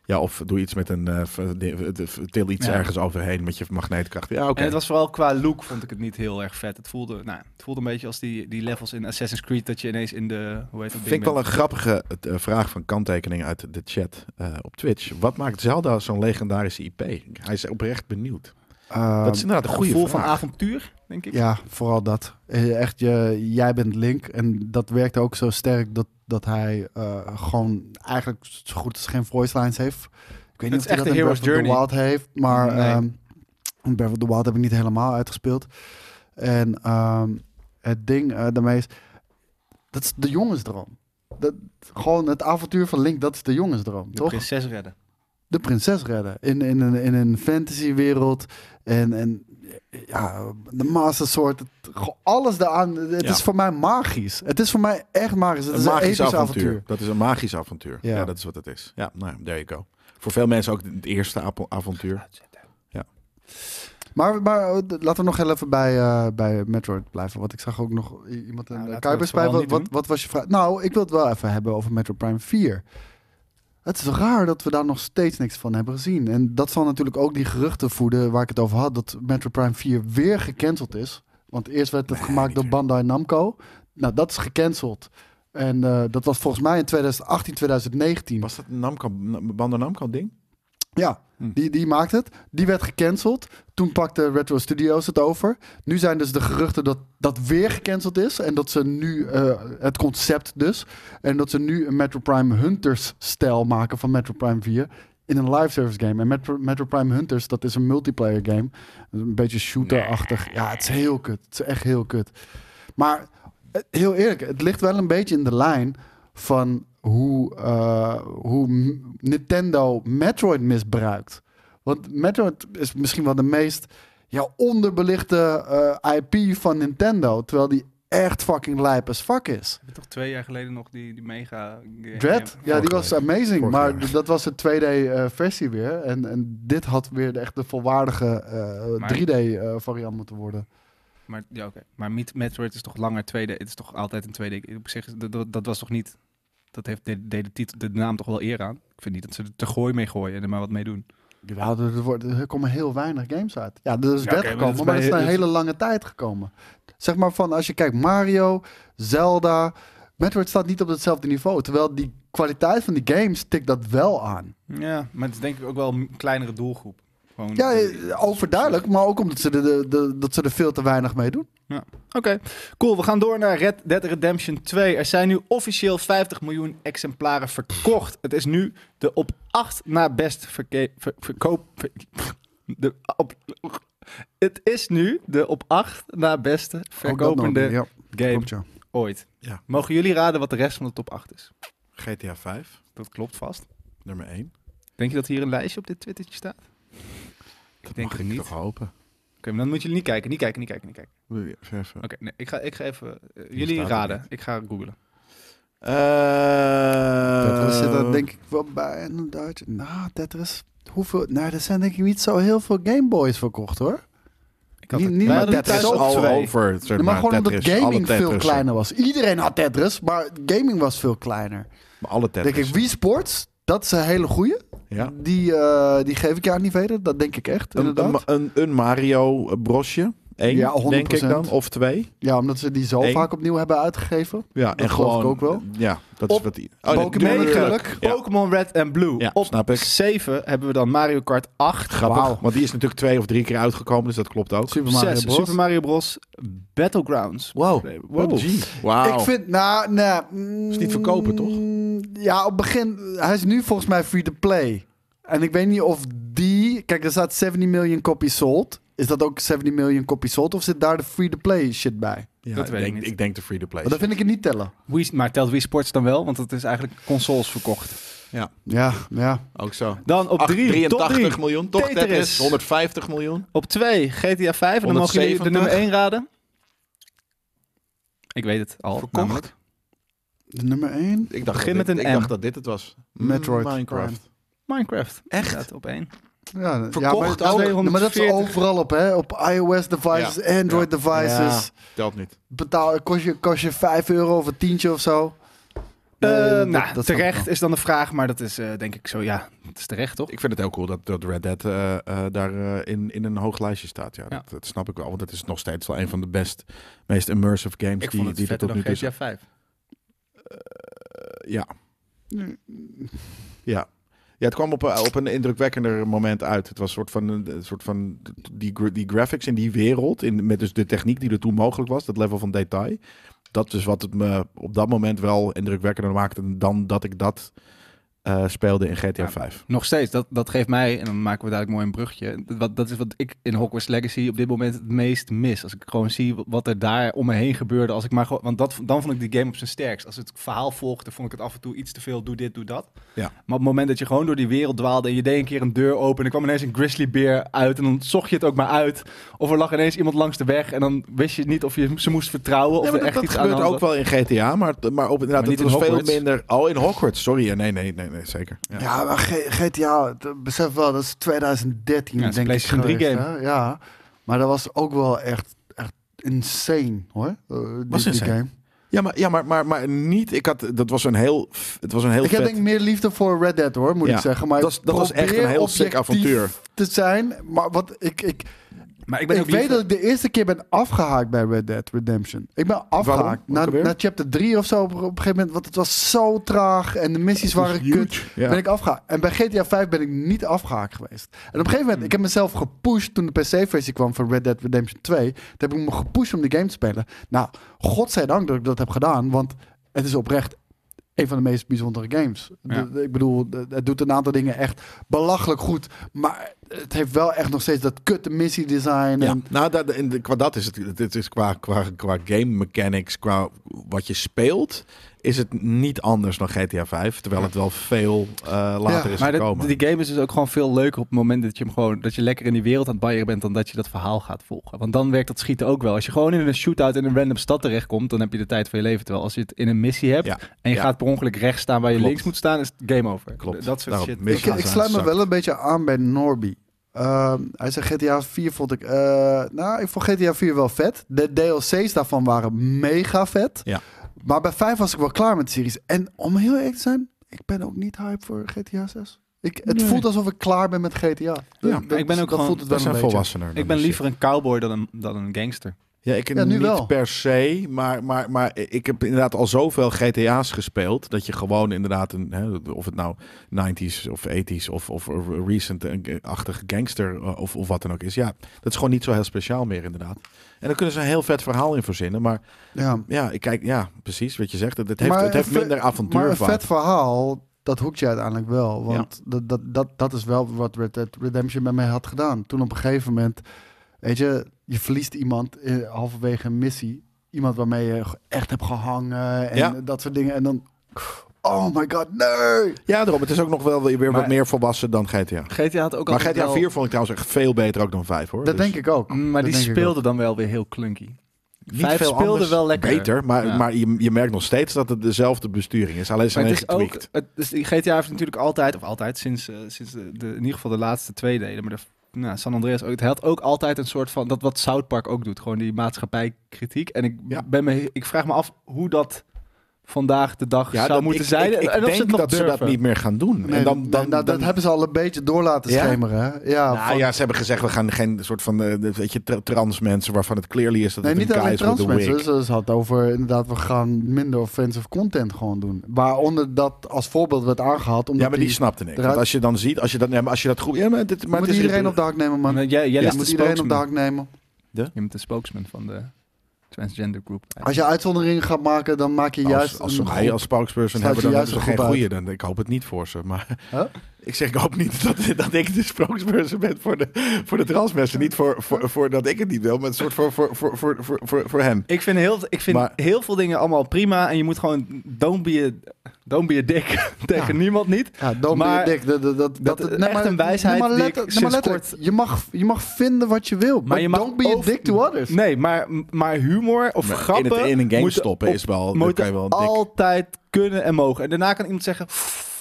C: Ja, of doe iets met een... eh, v- di- de- v- til iets
B: Ja.
C: ergens overheen met je magneetkracht. Ja, oké.
B: En het was vooral qua look vond ik het niet heel erg vet. Het voelde, nou, het voelde een beetje als die, die levels in Assassin's Creed. Dat je ineens in de. Hoe heet dat?
C: Vind ik wel een grappige eh, vraag van kanttekening uit de chat eh, op Twitch. Wat maakt Zelda zo'n legendarische IP? Hij is oprecht benieuwd.
A: Ehm,
C: dat is inderdaad een
B: gevoel
C: goede vraag.
B: van avontuur, denk ik.
A: ja, vooral dat. Eh, Echt, je, jij bent Link. En dat werkte ook zo sterk dat, dat hij eh, gewoon eigenlijk zo goed als geen voice lines heeft. Ik
B: Het
A: weet niet
B: is
A: of hij
B: echt
A: dat
B: een
A: in
B: hero's
A: Breath of the
B: journey.
A: Wild heeft, maar
B: Nee.
A: ehm in Breath of the Wild heb ik niet helemaal uitgespeeld. En ehm, het ding eh, daarmee is, dat is de jongensdroom. Dat, gewoon het avontuur van Link, dat is de jongensdroom,
B: De
A: toch?
B: prinses redden.
A: de prinses redden. In, in, een, in een fantasywereld. En, en ja, de Master Sword. Het, gewoon alles daaraan. Het
C: Ja.
A: is voor mij magisch. Het is voor mij echt magisch. Het
C: Een
A: is een
C: magisch
A: episch
C: avontuur.
A: avontuur.
C: Dat is een magisch avontuur. Ja.
A: Ja.
C: dat is wat het is. Ja, nou, there you go. Voor veel mensen ook het eerste apo- avontuur.
A: Maar, maar eh, laten we nog heel even bij, eh, bij Metroid blijven. Want ik zag ook nog i- iemand
B: Nou,
A: in de
B: laten we
A: Kuipers
B: het vooral
A: bij. Wat,
B: niet
A: wat,
B: doen.
A: wat was je vraag? Nou, ik wil het wel even hebben over Metroid Prime 4. Het is raar dat we daar nog steeds niks van hebben gezien. En dat zal natuurlijk ook die geruchten voeden waar ik het over had. Dat Metroid Prime 4 weer gecanceld is. Want eerst werd het gemaakt door Bandai Namco. Nou, dat is gecanceld. En eh, dat was volgens mij in 2018, 2019.
C: Was dat een Namco, Bandai Namco ding?
A: Ja,
C: Hm.
A: die, die maakt het. Die werd gecanceld. Toen pakte Retro Studios het over. Nu zijn dus de geruchten dat dat weer gecanceld is. En dat ze nu, eh, het concept dus, en dat ze nu een Metro Prime Hunters-stijl maken van Metro Prime 4 in een live service game. En Metro, Metro Prime Hunters, dat is een multiplayer game. Een beetje shooter-achtig. Ja, het is heel kut. Het is echt heel kut. Maar eh, heel eerlijk, het ligt wel een beetje in de lijn van hoe, eh, hoe M- Nintendo Metroid misbruikt. Want Metroid is misschien wel de meest ja, onderbelichte eh, IP van Nintendo. Terwijl die echt fucking lijp as fuck is.
B: Heb je toch twee jaar geleden nog die, die mega...
A: Dread, ja, die was amazing.
C: Vorig
A: maar
C: jaar.
A: d- dat was de 2D-versie weer. En, en dit had weer de, echt de volwaardige eh,
B: Maar-
A: 3D-variant moeten worden.
B: Maar, ja, oké. maar Meet- Metroid is toch langer tweede... Het is toch altijd een tweede... Op zich, is- dat, dat, dat was toch niet... Dat heeft de, de, de, titel, de naam toch wel eer aan? Ik vind niet dat ze er te gooi mee gooien en er maar wat mee doen.
A: Ja, er, wordt- er komen heel weinig games uit. Ja, er is
B: Ja,
A: wet
B: oké, maar
A: gekomen,
B: dat is
A: maar
B: bij-
A: dat is na een
B: dat is-
A: hele lange tijd gekomen. Zeg maar van, als je kijkt, Mario, Zelda... Metroid staat niet op hetzelfde niveau. Terwijl die kwaliteit van die games tikt dat wel aan.
B: Ja, maar het is denk ik ook wel een kleinere doelgroep. Gewoon,
A: Ja, eh, overduidelijk. Maar ook omdat ze er, de, de, dat ze er veel te weinig mee doen.
B: Oké, cool. We gaan door naar Red Dead Redemption 2. Er zijn nu officieel 50 miljoen exemplaren verkocht. Het is nu de op 8 na best verke- ver- verkoop... ver- (laughs) de, op, het is nu de op 8 na beste
A: Ook Oh, dat nog,
B: verkopende
A: ja,
B: game
A: klopt, ja.
B: ooit.
C: Ja.
B: Mogen jullie raden wat de rest van de top 8 is?
C: GTA 5,
B: Dat klopt vast.
C: nummer 1.
B: Denk je dat hier een lijstje op dit twittertje staat? ik denk
C: Mag
B: het
C: ik
B: niet.
C: toch
B: Oké,
C: hopen.
B: maar dan moeten jullie niet kijken, niet kijken, niet kijken, niet kijken.
C: Wil je even- even-
B: Oké, nee, ik ga, ik ga even... eh,
C: staat
B: jullie
C: het
B: raden.
C: niet.
B: Ik ga googlen.
C: Eh,
A: Tetris zit er denk ik wel bij een Duitje. Nou, Tetris. Hoeveel? Nou, er zijn denk ik niet zo heel veel Game Boys verkocht hoor.
B: Ik had
A: Niet-
B: het-
A: niet
B: Wij
A: met
B: hadden
A: Tetris
B: thuis
A: op
B: al
C: al
B: twee.
C: over. Zeg
A: maar, gewoon
C: Tetris,
A: omdat
C: alle
A: gaming veel
C: Tetrissen.
A: kleiner was. Iedereen had Tetris, maar gaming was veel kleiner.
C: Maar alle
A: Denk ik,
C: Tetris.
A: Wii Sports, dat is een hele goeie.
C: Ja.
A: Die, eh, die geef ik je aan niet verder. Dat denk ik echt,
C: Een,
A: inderdaad.
C: een, een, een Mario eh, brosje. Eén,
A: Ja,
C: denk ik
A: 100%.
C: dan. Of twee.
A: ja, omdat ze die zo
C: Eén.
A: vaak opnieuw hebben uitgegeven.
C: Ja, en
A: geloof
C: gewoon.
A: ik ook wel.
C: Ja, dat
A: Op
C: is wat die. Oh,
A: Pokémon
C: natuurlijk.
A: natuurlijk.
C: Ja.
B: Pokémon Red en Blue.
C: Ja,
B: op
C: snap ik.
B: 7 hebben we dan Mario Kart 8.
C: Grappig.
A: Wauw.
C: Want die is natuurlijk twee of drie keer uitgekomen, dus dat klopt ook.
A: Super
B: Op
A: Mario
B: 6
A: Bros.
B: Super Mario Bros. Battlegrounds.
C: Wow.
B: Wow.
C: Wauw.
A: Ik vind, nou, nee.
C: Is niet verkopen, toch?
A: mm, Ja, op het begin. Hij is nu volgens mij free to play. En ik weet niet of die Kijk, er staat 70 miljoen copies sold. Is dat ook 70 miljoen copies sold? Of zit daar de free-to-play shit bij?
C: Ja,
B: Dat
C: ik,
B: weet ik
C: denk,
B: niet.
C: ik denk de free-to-play.
A: Maar dat vind ik het niet tellen.
B: Wii, maar telt Wii Sports dan wel? Want dat is eigenlijk consoles verkocht.
A: Ja, ja.
C: Ook zo.
B: Dan op
C: Acht-
B: 3, top
C: 83
B: 3.
C: miljoen, toch
B: Tetris.
C: Tetris. 150 miljoen.
B: Op 2, GTA 5. En dan mogen jullie de
C: 170.
B: nummer 1 raden. Ik weet het al.
C: Verkocht.
B: namelijk.
A: De nummer 1.
C: Ik dacht,
B: Begin
C: dat
B: met
C: dit,
B: een
C: ik
B: M.
C: dacht dat dit het was. Mm,
A: Metroid
C: Minecraft.
B: Minecraft. Echt? op 1.
A: Ja, ja,
C: Verkocht
A: maar,
C: ook.
A: Ja, maar dat is
B: 240.
A: overal op, hè? Op iOS devices, Android devices.
C: Telt niet.
A: Betaal, kost, je, kost je 5 euro of een tientje of zo.
C: Eh,
A: Nee,
B: nou,
A: dat- dat snap ik
B: terecht
A: wel.
B: is dan de vraag, maar dat is eh, denk ik zo, ja, het is terecht toch?
C: Ik vind het heel cool dat, dat Red Dead eh, eh, daar eh, in, in een hoog lijstje staat. Ja,
B: Ja.
C: Dat, dat snap ik wel. Want het is nog steeds wel een van de best, meest immersive games
B: Ik
C: die,
B: vond het
C: die er
B: vetter
C: tot
B: dan
C: nu toe
B: GTA 5.
C: zijn. Ja. ja. Ja, het kwam op, eh, op een indrukwekkender moment uit. Het was een soort van, eh, een- een soort van die, gra- die graphics in die wereld, in, met dus de techniek die er toen mogelijk was, dat level van detail. Dat is wat het me op dat moment wel indrukwekkender maakte dan dat ik dat eh, speelde in GTA
B: Ja.
C: 5.
B: Nog steeds, dat, dat geeft mij, en dan maken we dadelijk mooi een brugje. Wat, dat is wat ik in Hogwarts Legacy op dit moment het meest mis. Als ik gewoon zie wat er daar om me heen gebeurde. Als ik maar gewoon, want dat, dan vond ik die game op zijn sterkst. Als het verhaal volgde, vond ik het af en toe iets te veel. Doe dit, doe dat.
C: Ja.
B: Maar op het moment dat je gewoon door die wereld dwaalde en je deed een keer een deur open. En er kwam ineens een grizzly bear uit. En dan zocht je het ook maar uit. Of er lag ineens iemand langs de weg. En dan wist je niet of je ze moest vertrouwen. Of
C: Ja, maar
B: er
C: dat,
B: echt
C: dat
B: iets aan de
C: gebeurt
B: hand
C: ook wel in GTA, maar, maar op, inderdaad,
B: Maar niet
C: het was
B: in
C: veel
B: Hogwarts.
C: minder... Oh, in Hogwarts, sorry. Ja, Nee, nee, nee, nee zeker. Ja.
A: Ja, maar G- GTA, t- besef wel, dat is 2013
B: Ja, dat is
A: denk
B: een
A: ik
B: PlayStation 3
A: geweest,
B: game.
A: hè? Ja, maar dat was ook wel echt, echt insane, hoor. eh, die-
C: Was
A: die
C: insane.
A: game.
C: Ja, maar, ja maar, maar, maar niet... Ik had, dat was een heel... f- Het was een heel
A: Ik heb
C: vet-
A: denk ik meer liefde voor Red Dead, hoor, moet
C: Ja,
A: ik zeggen. Maar
C: dat is- dat was
A: probeer
C: echt een heel sick
A: objectief
C: avontuur.
A: te zijn, maar wat ik, ik,
B: Maar ik
A: ik,
B: ben ook
A: weet
B: liever-
A: dat ik de eerste keer ben afgehaakt bij Red Dead Redemption. Ik ben afgehaakt
C: Ook
A: na,
C: alweer?
A: na chapter 3 of zo op, op een gegeven moment, want het was zo traag en de missies waren kut.
C: Ja.
A: ben ik afgehaakt. En bij GTA 5 ben ik niet afgehaakt geweest. En op een gegeven
B: Hmm.
A: moment, ik heb mezelf gepusht toen de PC-versie kwam van Red Dead Redemption 2. Toen heb ik me gepusht om die game te spelen. Nou, godzijdank dat ik dat heb gedaan, want het is oprecht een van de meest bijzondere games.
B: Ja.
A: De- de- ik bedoel, de- het doet een aantal dingen echt belachelijk goed, maar het heeft wel echt nog steeds dat kutte missiedesign.
C: Ja,
A: En,
C: nou, dat, in de- qua dat is het. het- Het is qua, qua, qua game mechanics, qua wat je speelt, is het niet anders dan GTA 5. Terwijl het wel veel eh, later is
B: Maar dat-
C: gekomen.
B: die game is dus ook gewoon veel leuker op het moment dat je hem gewoon dat je lekker in die wereld aan het baieren bent dan dat je dat verhaal gaat volgen. Want dan werkt dat schieten ook wel. Als je gewoon in een shootout in een random stad terechtkomt, dan heb je de tijd van je leven. Terwijl als je het in een missie hebt
C: Ja.
B: en je
C: Ja.
B: gaat per ongeluk rechts staan waar je
C: Klopt.
B: links moet staan, is het game over.
C: Klopt.
B: Dat soort
C: Daarom,
B: shit.
C: mis-
A: Ik, ik
C: Ja,
A: sluit me
C: zakt.
A: wel een beetje aan bij Norby. Ehm, hij zei GTA 4 vond ik... eh, nou, ik vond GTA 4 wel vet. De DLC's daarvan waren mega vet.
C: Ja.
A: Maar bij 5 was ik wel klaar met de series. En om heel eerlijk te zijn, ik ben ook niet hype voor GTA 6. Ik, het voelt alsof ik klaar ben met GTA. Ja,
B: maar ik ben ook gewoon-
C: we zijn volwassener. dan
B: Ik ben
C: die shit.
B: liever een cowboy dan een, dan een gangster.
C: Ja, ik
A: Ja, nu
C: niet
A: wel.
C: per se, maar, maar, maar ik heb inderdaad al zoveel GTA's gespeeld. Dat je gewoon inderdaad, een, hè, of het nou 90s of 80s of, of recent-achtig gangster eh, of, of wat dan ook is. Ja, dat is gewoon niet zo heel speciaal meer inderdaad. En daar kunnen ze een heel vet verhaal in verzinnen. Maar
A: Ja.
C: ja, ik kijk, ja, precies wat je zegt. Het, het heeft,
A: Maar
C: het heeft
A: een vet-
C: minder
A: Maar een
C: avontuur
A: vet verhaal, dat hoekt je uiteindelijk wel.
C: Ja.
A: Want dat, dat, dat, dat is wel wat Red Dead Redemption met mij had gedaan. Toen op een gegeven moment, weet je, je verliest iemand eh, halverwege een missie. Iemand waarmee je echt hebt gehangen en
C: Ja.
A: dat soort dingen. En dan, oh my god, nee!
C: Ja, daarom. Het is ook nog wel weer
B: Maar-
C: wat meer volwassen dan GTA.
B: GTA had ook
C: Maar
B: altijd
C: GTA
B: wel-
C: 4 vond ik trouwens echt veel beter ook dan 5 hoor.
A: Dat
C: Dus
A: denk ik ook.
B: Mm, Maar
A: Dat
B: die
A: denk ik
B: speelde dan wel weer heel clunky.
C: niet
B: Vijf
C: veel
B: speelde
C: anders.
B: wel lekker.
C: Beter, maar,
B: Ja.
C: maar je, je merkt nog steeds dat het dezelfde besturing is. Alleen
B: Maar
C: zijn
B: het
C: het
B: is ook,
C: getweakt.
B: het, dus die GTA heeft natuurlijk altijd, of altijd sinds, eh, sinds de, de- in ieder geval de laatste twee delen, maar de, nou, San Andreas ook, het had ook altijd een soort van, dat wat South Park ook doet, gewoon die maatschappijkritiek. En ik,
C: Ja.
B: ben me, ik vraag me af hoe dat vandaag de dag zou
C: dat-
B: moeten
C: ik,
B: zijn.
C: Ik, ik
B: en of
C: denk
B: ze het nog
C: dat ze
B: durven.
C: dat niet meer gaan doen.
A: Nee,
C: en dan, dan,
A: nou, dat
C: dan-
A: hebben ze al een beetje door laten
C: Ja?
A: schemeren. Hè? Ja,
C: Nou
A: van-
C: ja, ze hebben gezegd, we gaan geen soort van eh, weet je, tra- trans mensen waarvan het clearly is dat
A: Nee,
C: het
A: niet
C: een guy
A: alleen
C: is met
A: trans
C: een
A: mensen.
C: wig.
A: Ze ze had over inderdaad, we gaan minder offensive content gewoon doen. Waaronder dat als voorbeeld werd aangehaald. Omdat
C: Ja, maar die snapte ik. Want
A: eruit-
C: als je dan ziet, als je dat, ja, maar als je dat goed... Ja, maar dit, maar
A: moet
C: het is
A: iedereen op de hak nemen, man.
B: Maar eh, jij, jij
A: Je
B: is
A: moet
B: de
A: iedereen op de
B: spokesman.
A: hak nemen.
B: Je bent de spokesman van de transgender group.
A: Als je uitzonderingen gaat maken, dan maak je
C: Als,
A: juist...
C: als ze
A: een
C: mij
A: groep.
C: als spokesperson
A: Sluit
C: hebben, dan
A: je
C: hebben
A: juist
C: ze
A: een
C: geen
A: groep uit.
C: goede. Dan, ik hoop het niet voor ze. Maar
A: (laughs) Huh?
C: Ik zeg, ik hoop niet dat, dat ik de spokesperson ben voor de, voor de transmensen. Niet voor, voor, voor dat ik het niet wil, maar een soort voor, voor, voor, voor, voor, voor, voor hen.
B: Ik vind, heel, ik vind
C: Maar-
B: heel veel dingen allemaal prima. En je moet gewoon... Don't be a, don't be a dick (laughs) tegen niemand niet.
A: Ja, don't
B: Maar
A: be a dick. Dat, dat, dat,
B: dat- echt een wijsheid die ik
A: letter-
B: sinds
A: letterlijk. Je, mag, je mag vinden wat je wil, maar
B: je mag
A: don't be a
B: over-
A: dick to others.
B: Nee, maar, maar humor of
C: Maar
B: grappen...
C: in, het, in een game
B: moeten
C: stoppen
B: op-
C: is wel, dan
B: moeten
C: kan je wel een dik-
B: altijd kunnen en mogen. En daarna kan iemand zeggen... "Pff,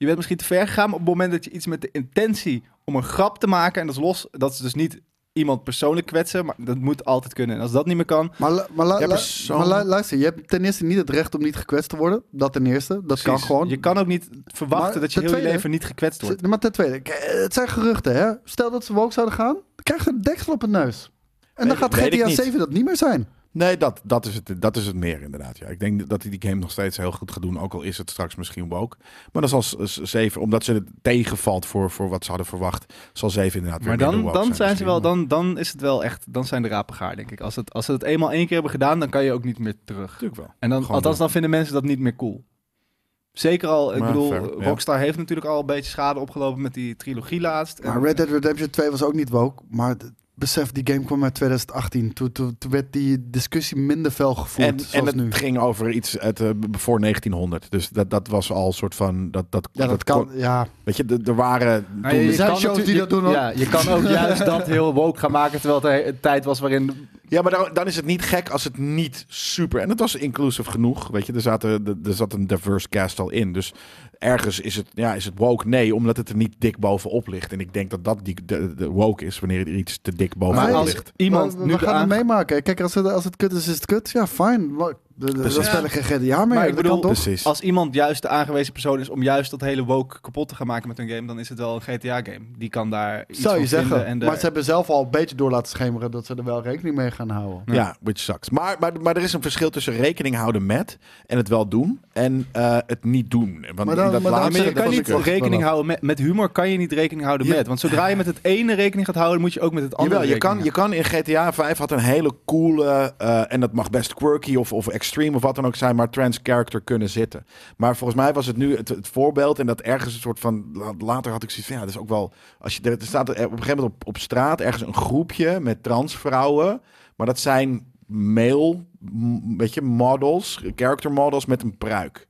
B: Je bent misschien te ver gegaan, maar op het moment dat je iets met de intentie om een grap te maken... en dat is los, dat is dus niet iemand persoonlijk kwetsen, maar dat moet altijd kunnen. En als dat niet meer kan...
A: Maar, lu- maar, lu-
C: Ja,
A: lu-
C: persoon-
A: maar lu- luister, je hebt ten eerste niet het recht om niet gekwetst te worden. Dat ten eerste, dat kan
B: precies.
A: gewoon.
B: Je kan ook niet verwachten
A: Maar
B: dat je
A: ten
B: heel je
A: tweede-
B: leven niet gekwetst wordt.
A: Maar ten tweede, k- het zijn geruchten, hè? Stel dat ze woke zouden gaan, dan krijgt ze een deksel op het neus. En dan
C: Weet-
A: gaat
C: weet ik
A: GTA
C: niet.
A: 7 dat niet meer zijn.
C: Nee, dat, dat, is het, dat is het meer inderdaad. Ja. Ik denk dat hij die game nog steeds heel goed gaat doen. Ook al is het straks misschien woke. Maar dan zal s- s- 7, omdat ze het tegenvalt voor, voor wat ze hadden verwacht, zal 7 inderdaad weer
B: Maar
C: minder
B: dan,
C: woke
B: dan zijn ze
C: misschien.
B: wel, dan, dan is het wel echt, dan zijn de rapen gaar, denk ik. Als, het, als ze het eenmaal één keer hebben gedaan, dan kan je ook niet meer terug.
C: Natuurlijk wel.
B: En dan,
C: Gewoon
B: althans,
C: doen.
B: dan vinden mensen dat niet meer cool. Zeker al, ik
C: Maar
B: bedoel,
C: fair, ja.
B: Rockstar heeft natuurlijk al een beetje schade opgelopen met die trilogie laatst. En-
A: Maar Red Dead Redemption 2 was ook niet woke. Maar d- besef, die game kwam uit 2018. Toen, toen, toen werd die discussie minder fel gevoerd,
C: En, en
A: zoals
C: het
A: nu.
C: ging over iets uit, eh, b- voor 1900. Dus dat, dat was al een soort van... Dat, dat,
A: Ja, dat kan.
C: kon-
A: Ja,
C: Weet je, d- er waren...
B: Maar
A: Toen-
B: je- je
A: Er zijn
B: kan
A: shows die
B: natuurlijk-
A: dat doen, hoor.
B: Ja, je kan
A: (laughs)
B: ook juist dat heel woke gaan maken, terwijl het een tijd was waarin...
C: Ja, maar dan, dan is het niet gek als het niet super... En het was inclusief genoeg, weet je. Er, zaten, er- er zat een diverse cast al in. Dus ergens is het, ja, is het woke? Nee, omdat het er niet dik bovenop ligt. En ik denk dat dat die, de, de woke is, wanneer er iets te dik bovenop
B: Maar
A: nee,
B: als
C: ligt.
B: iemand
A: we, we
B: nu de
A: gaan
B: aange-
A: het meemaken. Kijk, als het, als het kut is, is het kut. Ja, fijn. Maar- d- d- Dat
C: Precies.
A: spelen geen GDA meer.
B: Maar ik
A: dat
B: bedoel-
A: kan toch?
C: Precies.
B: Als iemand juist de aangewezen persoon is om juist dat hele woke kapot te gaan maken met hun game, dan is het wel een GTA-game. Die kan daar iets
A: Zou je
B: van vinden
A: zeggen.
B: en daar-
A: Maar ze hebben zelf al een beetje door laten schemeren dat ze er wel rekening mee gaan houden.
C: Ja, which sucks. Maar, maar, maar er is een verschil tussen rekening houden met en het wel doen en eh, het niet doen. Want
A: Maar dan-
C: in
A: maar dan-
C: dat
B: Ja,
C: laatste,
B: maar je
A: dat
B: kan
A: was
B: niet
A: ik echt
B: rekening
A: vanaf.
B: houden met, met humor kan je niet rekening houden
C: Ja.
B: met. Want zodra je met het ene rekening gaat houden, moet je ook met het andere.
C: Jawel, je kan, je
B: rekening
C: kan in GTA 5 had een hele coole, eh, en dat mag best quirky of, of extreme of wat dan ook zijn, maar trans character kunnen zitten. Maar volgens mij was het nu het, het voorbeeld en dat ergens een soort van, la- later had ik zoiets van, ja, dat is ook wel, als je, er staat er op een gegeven moment op, op straat ergens een groepje met transvrouwen, maar dat zijn male, m- weet je, models, character models met een pruik.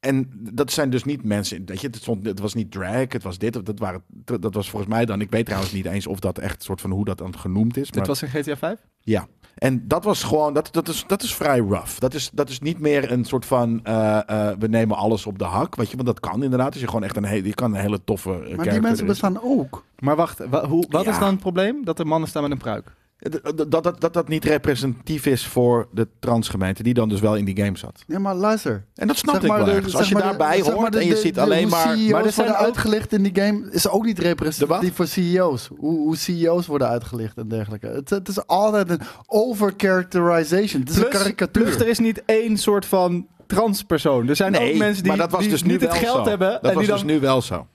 C: En dat zijn dus niet mensen. Weet je, het, stond, het was niet drag, het was dit. Dat, waren, dat was volgens mij dan. Ik weet trouwens niet eens of dat echt soort van hoe dat dan genoemd is.
B: hebben.
C: Maar,
B: Dit was in GTA 5?
C: Ja. En dat was gewoon. Dat, dat, is, dat is vrij rough. Dat is, dat is niet meer een soort van. eh, eh, we nemen alles op de hak. Weet je, want dat kan inderdaad. Dus je gewoon echt een hele. Je kan een hele toffe. eh,
A: Maar
C: character
A: die mensen
C: erin
A: bestaan ook.
B: Maar wacht, wa- hoe, wat
C: Ja.
B: is dan het probleem? Dat er mannen staan met een pruik.
C: zetten. Eh, Dat dat, dat, dat dat niet representatief is voor de transgemeente. die dan dus wel in die game zat.
A: Ja, maar luister.
C: En dat snap
A: Zeg
C: ik
A: maar
C: wel
A: de-
C: ergens.
A: zeg
C: Als je
A: maar de-
C: daarbij
A: zeg maar
C: hoort
A: de-
C: en je
A: de-
C: ziet
A: de-
C: alleen
A: hoe
C: maar.
A: CEO's
C: Maar er zijn
A: worden
C: ook-
A: uitgelicht in die game is ook niet
C: De
A: representatief voor CEO's. Hoe, hoe CEO's worden uitgelicht en dergelijke. Het, het is altijd een overcharacterization. Het is een karikatuur.
B: plus er is niet één soort van transpersoon. Er zijn ook mensen die,
C: maar dat was
B: die
C: dus nu
B: niet het
C: wel
B: geld
C: zo.
B: hebben. en
C: Dat was
B: die dan,
C: dus nu wel zo.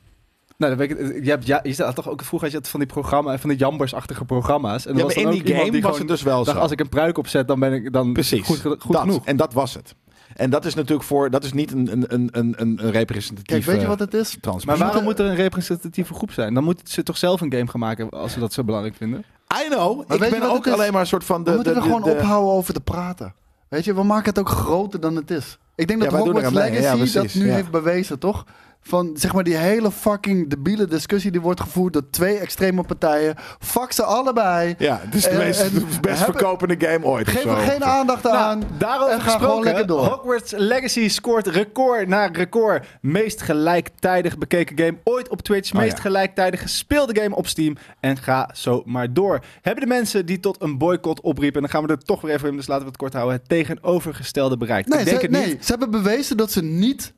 B: nou, dan weet ik, het. je, hebt, ja, je staat toch ook vroeger had je van die programma, van die jambersachtige programma's. En er
C: Ja,
B: was
C: maar
B: dan
C: in
B: ook
C: die game
B: iemand die
C: was
B: gewoon
C: het dus wel
B: dacht,
C: zo.
B: als ik een pruik opzet, dan ben ik dan
C: Precies.
B: goed, ge- goed
C: dat.
B: genoeg.
C: En dat was het. En dat is natuurlijk voor... Dat is niet een, een, een, een, een representatieve
A: Kijk, weet je wat het is?
B: Maar
C: transpersoon.
B: waarom moet er een representatieve groep zijn? Dan moeten ze toch zelf een game gaan maken als ze dat zo belangrijk vinden.
C: I know.
A: Maar
C: ik
A: weet je
C: ben
A: wat
C: ook
A: het is?
C: alleen maar een soort van... De,
A: We moeten
C: de,
A: er gewoon
C: de- de-
A: ophouden over te praten. Weet je, we maken het ook groter dan het is. Ik denk dat
C: wij doen er
A: Hogwarts
C: aan mee,
A: Legacy
C: ja,
A: dat
C: precies,
A: nu
C: ja.
A: heeft bewezen, toch? Van zeg maar die hele fucking debiele discussie die wordt gevoerd door twee extreme partijen. Fuck ze allebei.
C: Ja, het is de
A: En-
C: meest,
A: en-
C: (laughs) de best
A: hebben-
C: verkopende game ooit. of
A: Geef er
C: zo.
A: geen aandacht aan.
B: Nou, daarover
A: en ga gewoon
B: gesproken,
A: lekker door.
B: Hogwarts Legacy scoort record na record. Meest gelijktijdig bekeken game ooit op Twitch.
C: Oh,
B: meest
C: ja.
B: gelijktijdig gespeelde game op Steam. En ga zo maar door. Hebben de mensen die tot een boycott opriepen... en dan gaan we er toch weer even in, dus laten we het kort houden... het tegenovergestelde bereikt?
A: Nee,
B: Ik denk
A: ze,
B: het
A: nee,
B: niet.
A: ze hebben bewezen dat ze niet,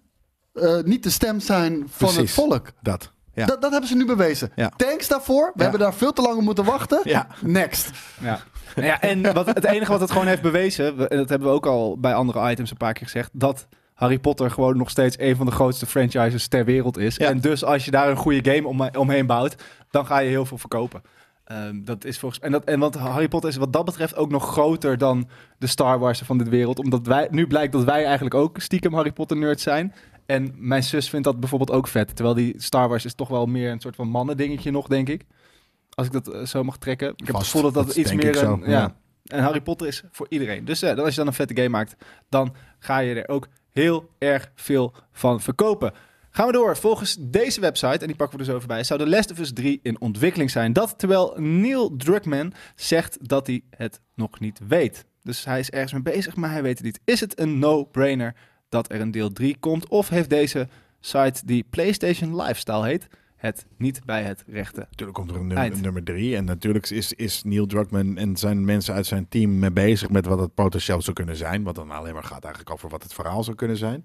A: eh, niet de stem zijn van het
C: Precies.
A: volk.
C: Dat. Ja.
A: Dat, dat hebben ze nu bewezen.
C: Ja.
A: Thanks daarvoor. We
C: Ja.
A: hebben daar veel te lang op moeten wachten.
C: Ja.
A: Next.
B: Ja. Nou ja, en (laughs) wat, het enige wat het gewoon heeft bewezen... we- en dat hebben we ook al bij andere items een paar keer gezegd... dat Harry Potter gewoon nog steeds een van de grootste franchises ter wereld is.
C: Ja.
B: En dus als je daar een goede game om, omheen bouwt... dan ga je heel veel verkopen. Ehm, dat is volgens, en, dat, en want Harry Potter is wat dat betreft ook nog groter dan de Star Wars van dit wereld. Omdat wij, nu blijkt dat wij eigenlijk ook stiekem Harry Potter nerds zijn. En mijn zus vindt dat bijvoorbeeld ook vet. Terwijl die Star Wars is toch wel meer een soort van mannen dingetje nog, denk ik. Als ik dat eh, zo mag trekken. Ik heb het
C: Vast,
B: gevoel dat dat,
C: dat
B: iets
C: denk ik
B: meer...
C: zo,
B: een- ja.
C: ja.
B: En Harry Potter is voor iedereen. Dus eh, dan als je dan een vette game maakt, dan ga je er ook heel erg veel van verkopen. Gaan we door. Volgens deze website, en die pakken we dus over bij, zou The Last of Us 3 in ontwikkeling zijn. Dat terwijl Neil Druckmann zegt dat hij het nog niet weet. Dus hij is ergens mee bezig, maar hij weet het niet. Is het een no-brainer dat er een deel 3 komt? Of heeft deze site die PlayStation Lifestyle heet, het niet bij het rechte?
C: Natuurlijk komt er een
B: Eind.
C: nummer, nummer drie. En natuurlijk is, is Neil Druckmann en zijn mensen uit zijn team mee bezig met wat het potentieel zou kunnen zijn. Wat dan alleen maar gaat eigenlijk over wat het verhaal zou kunnen zijn.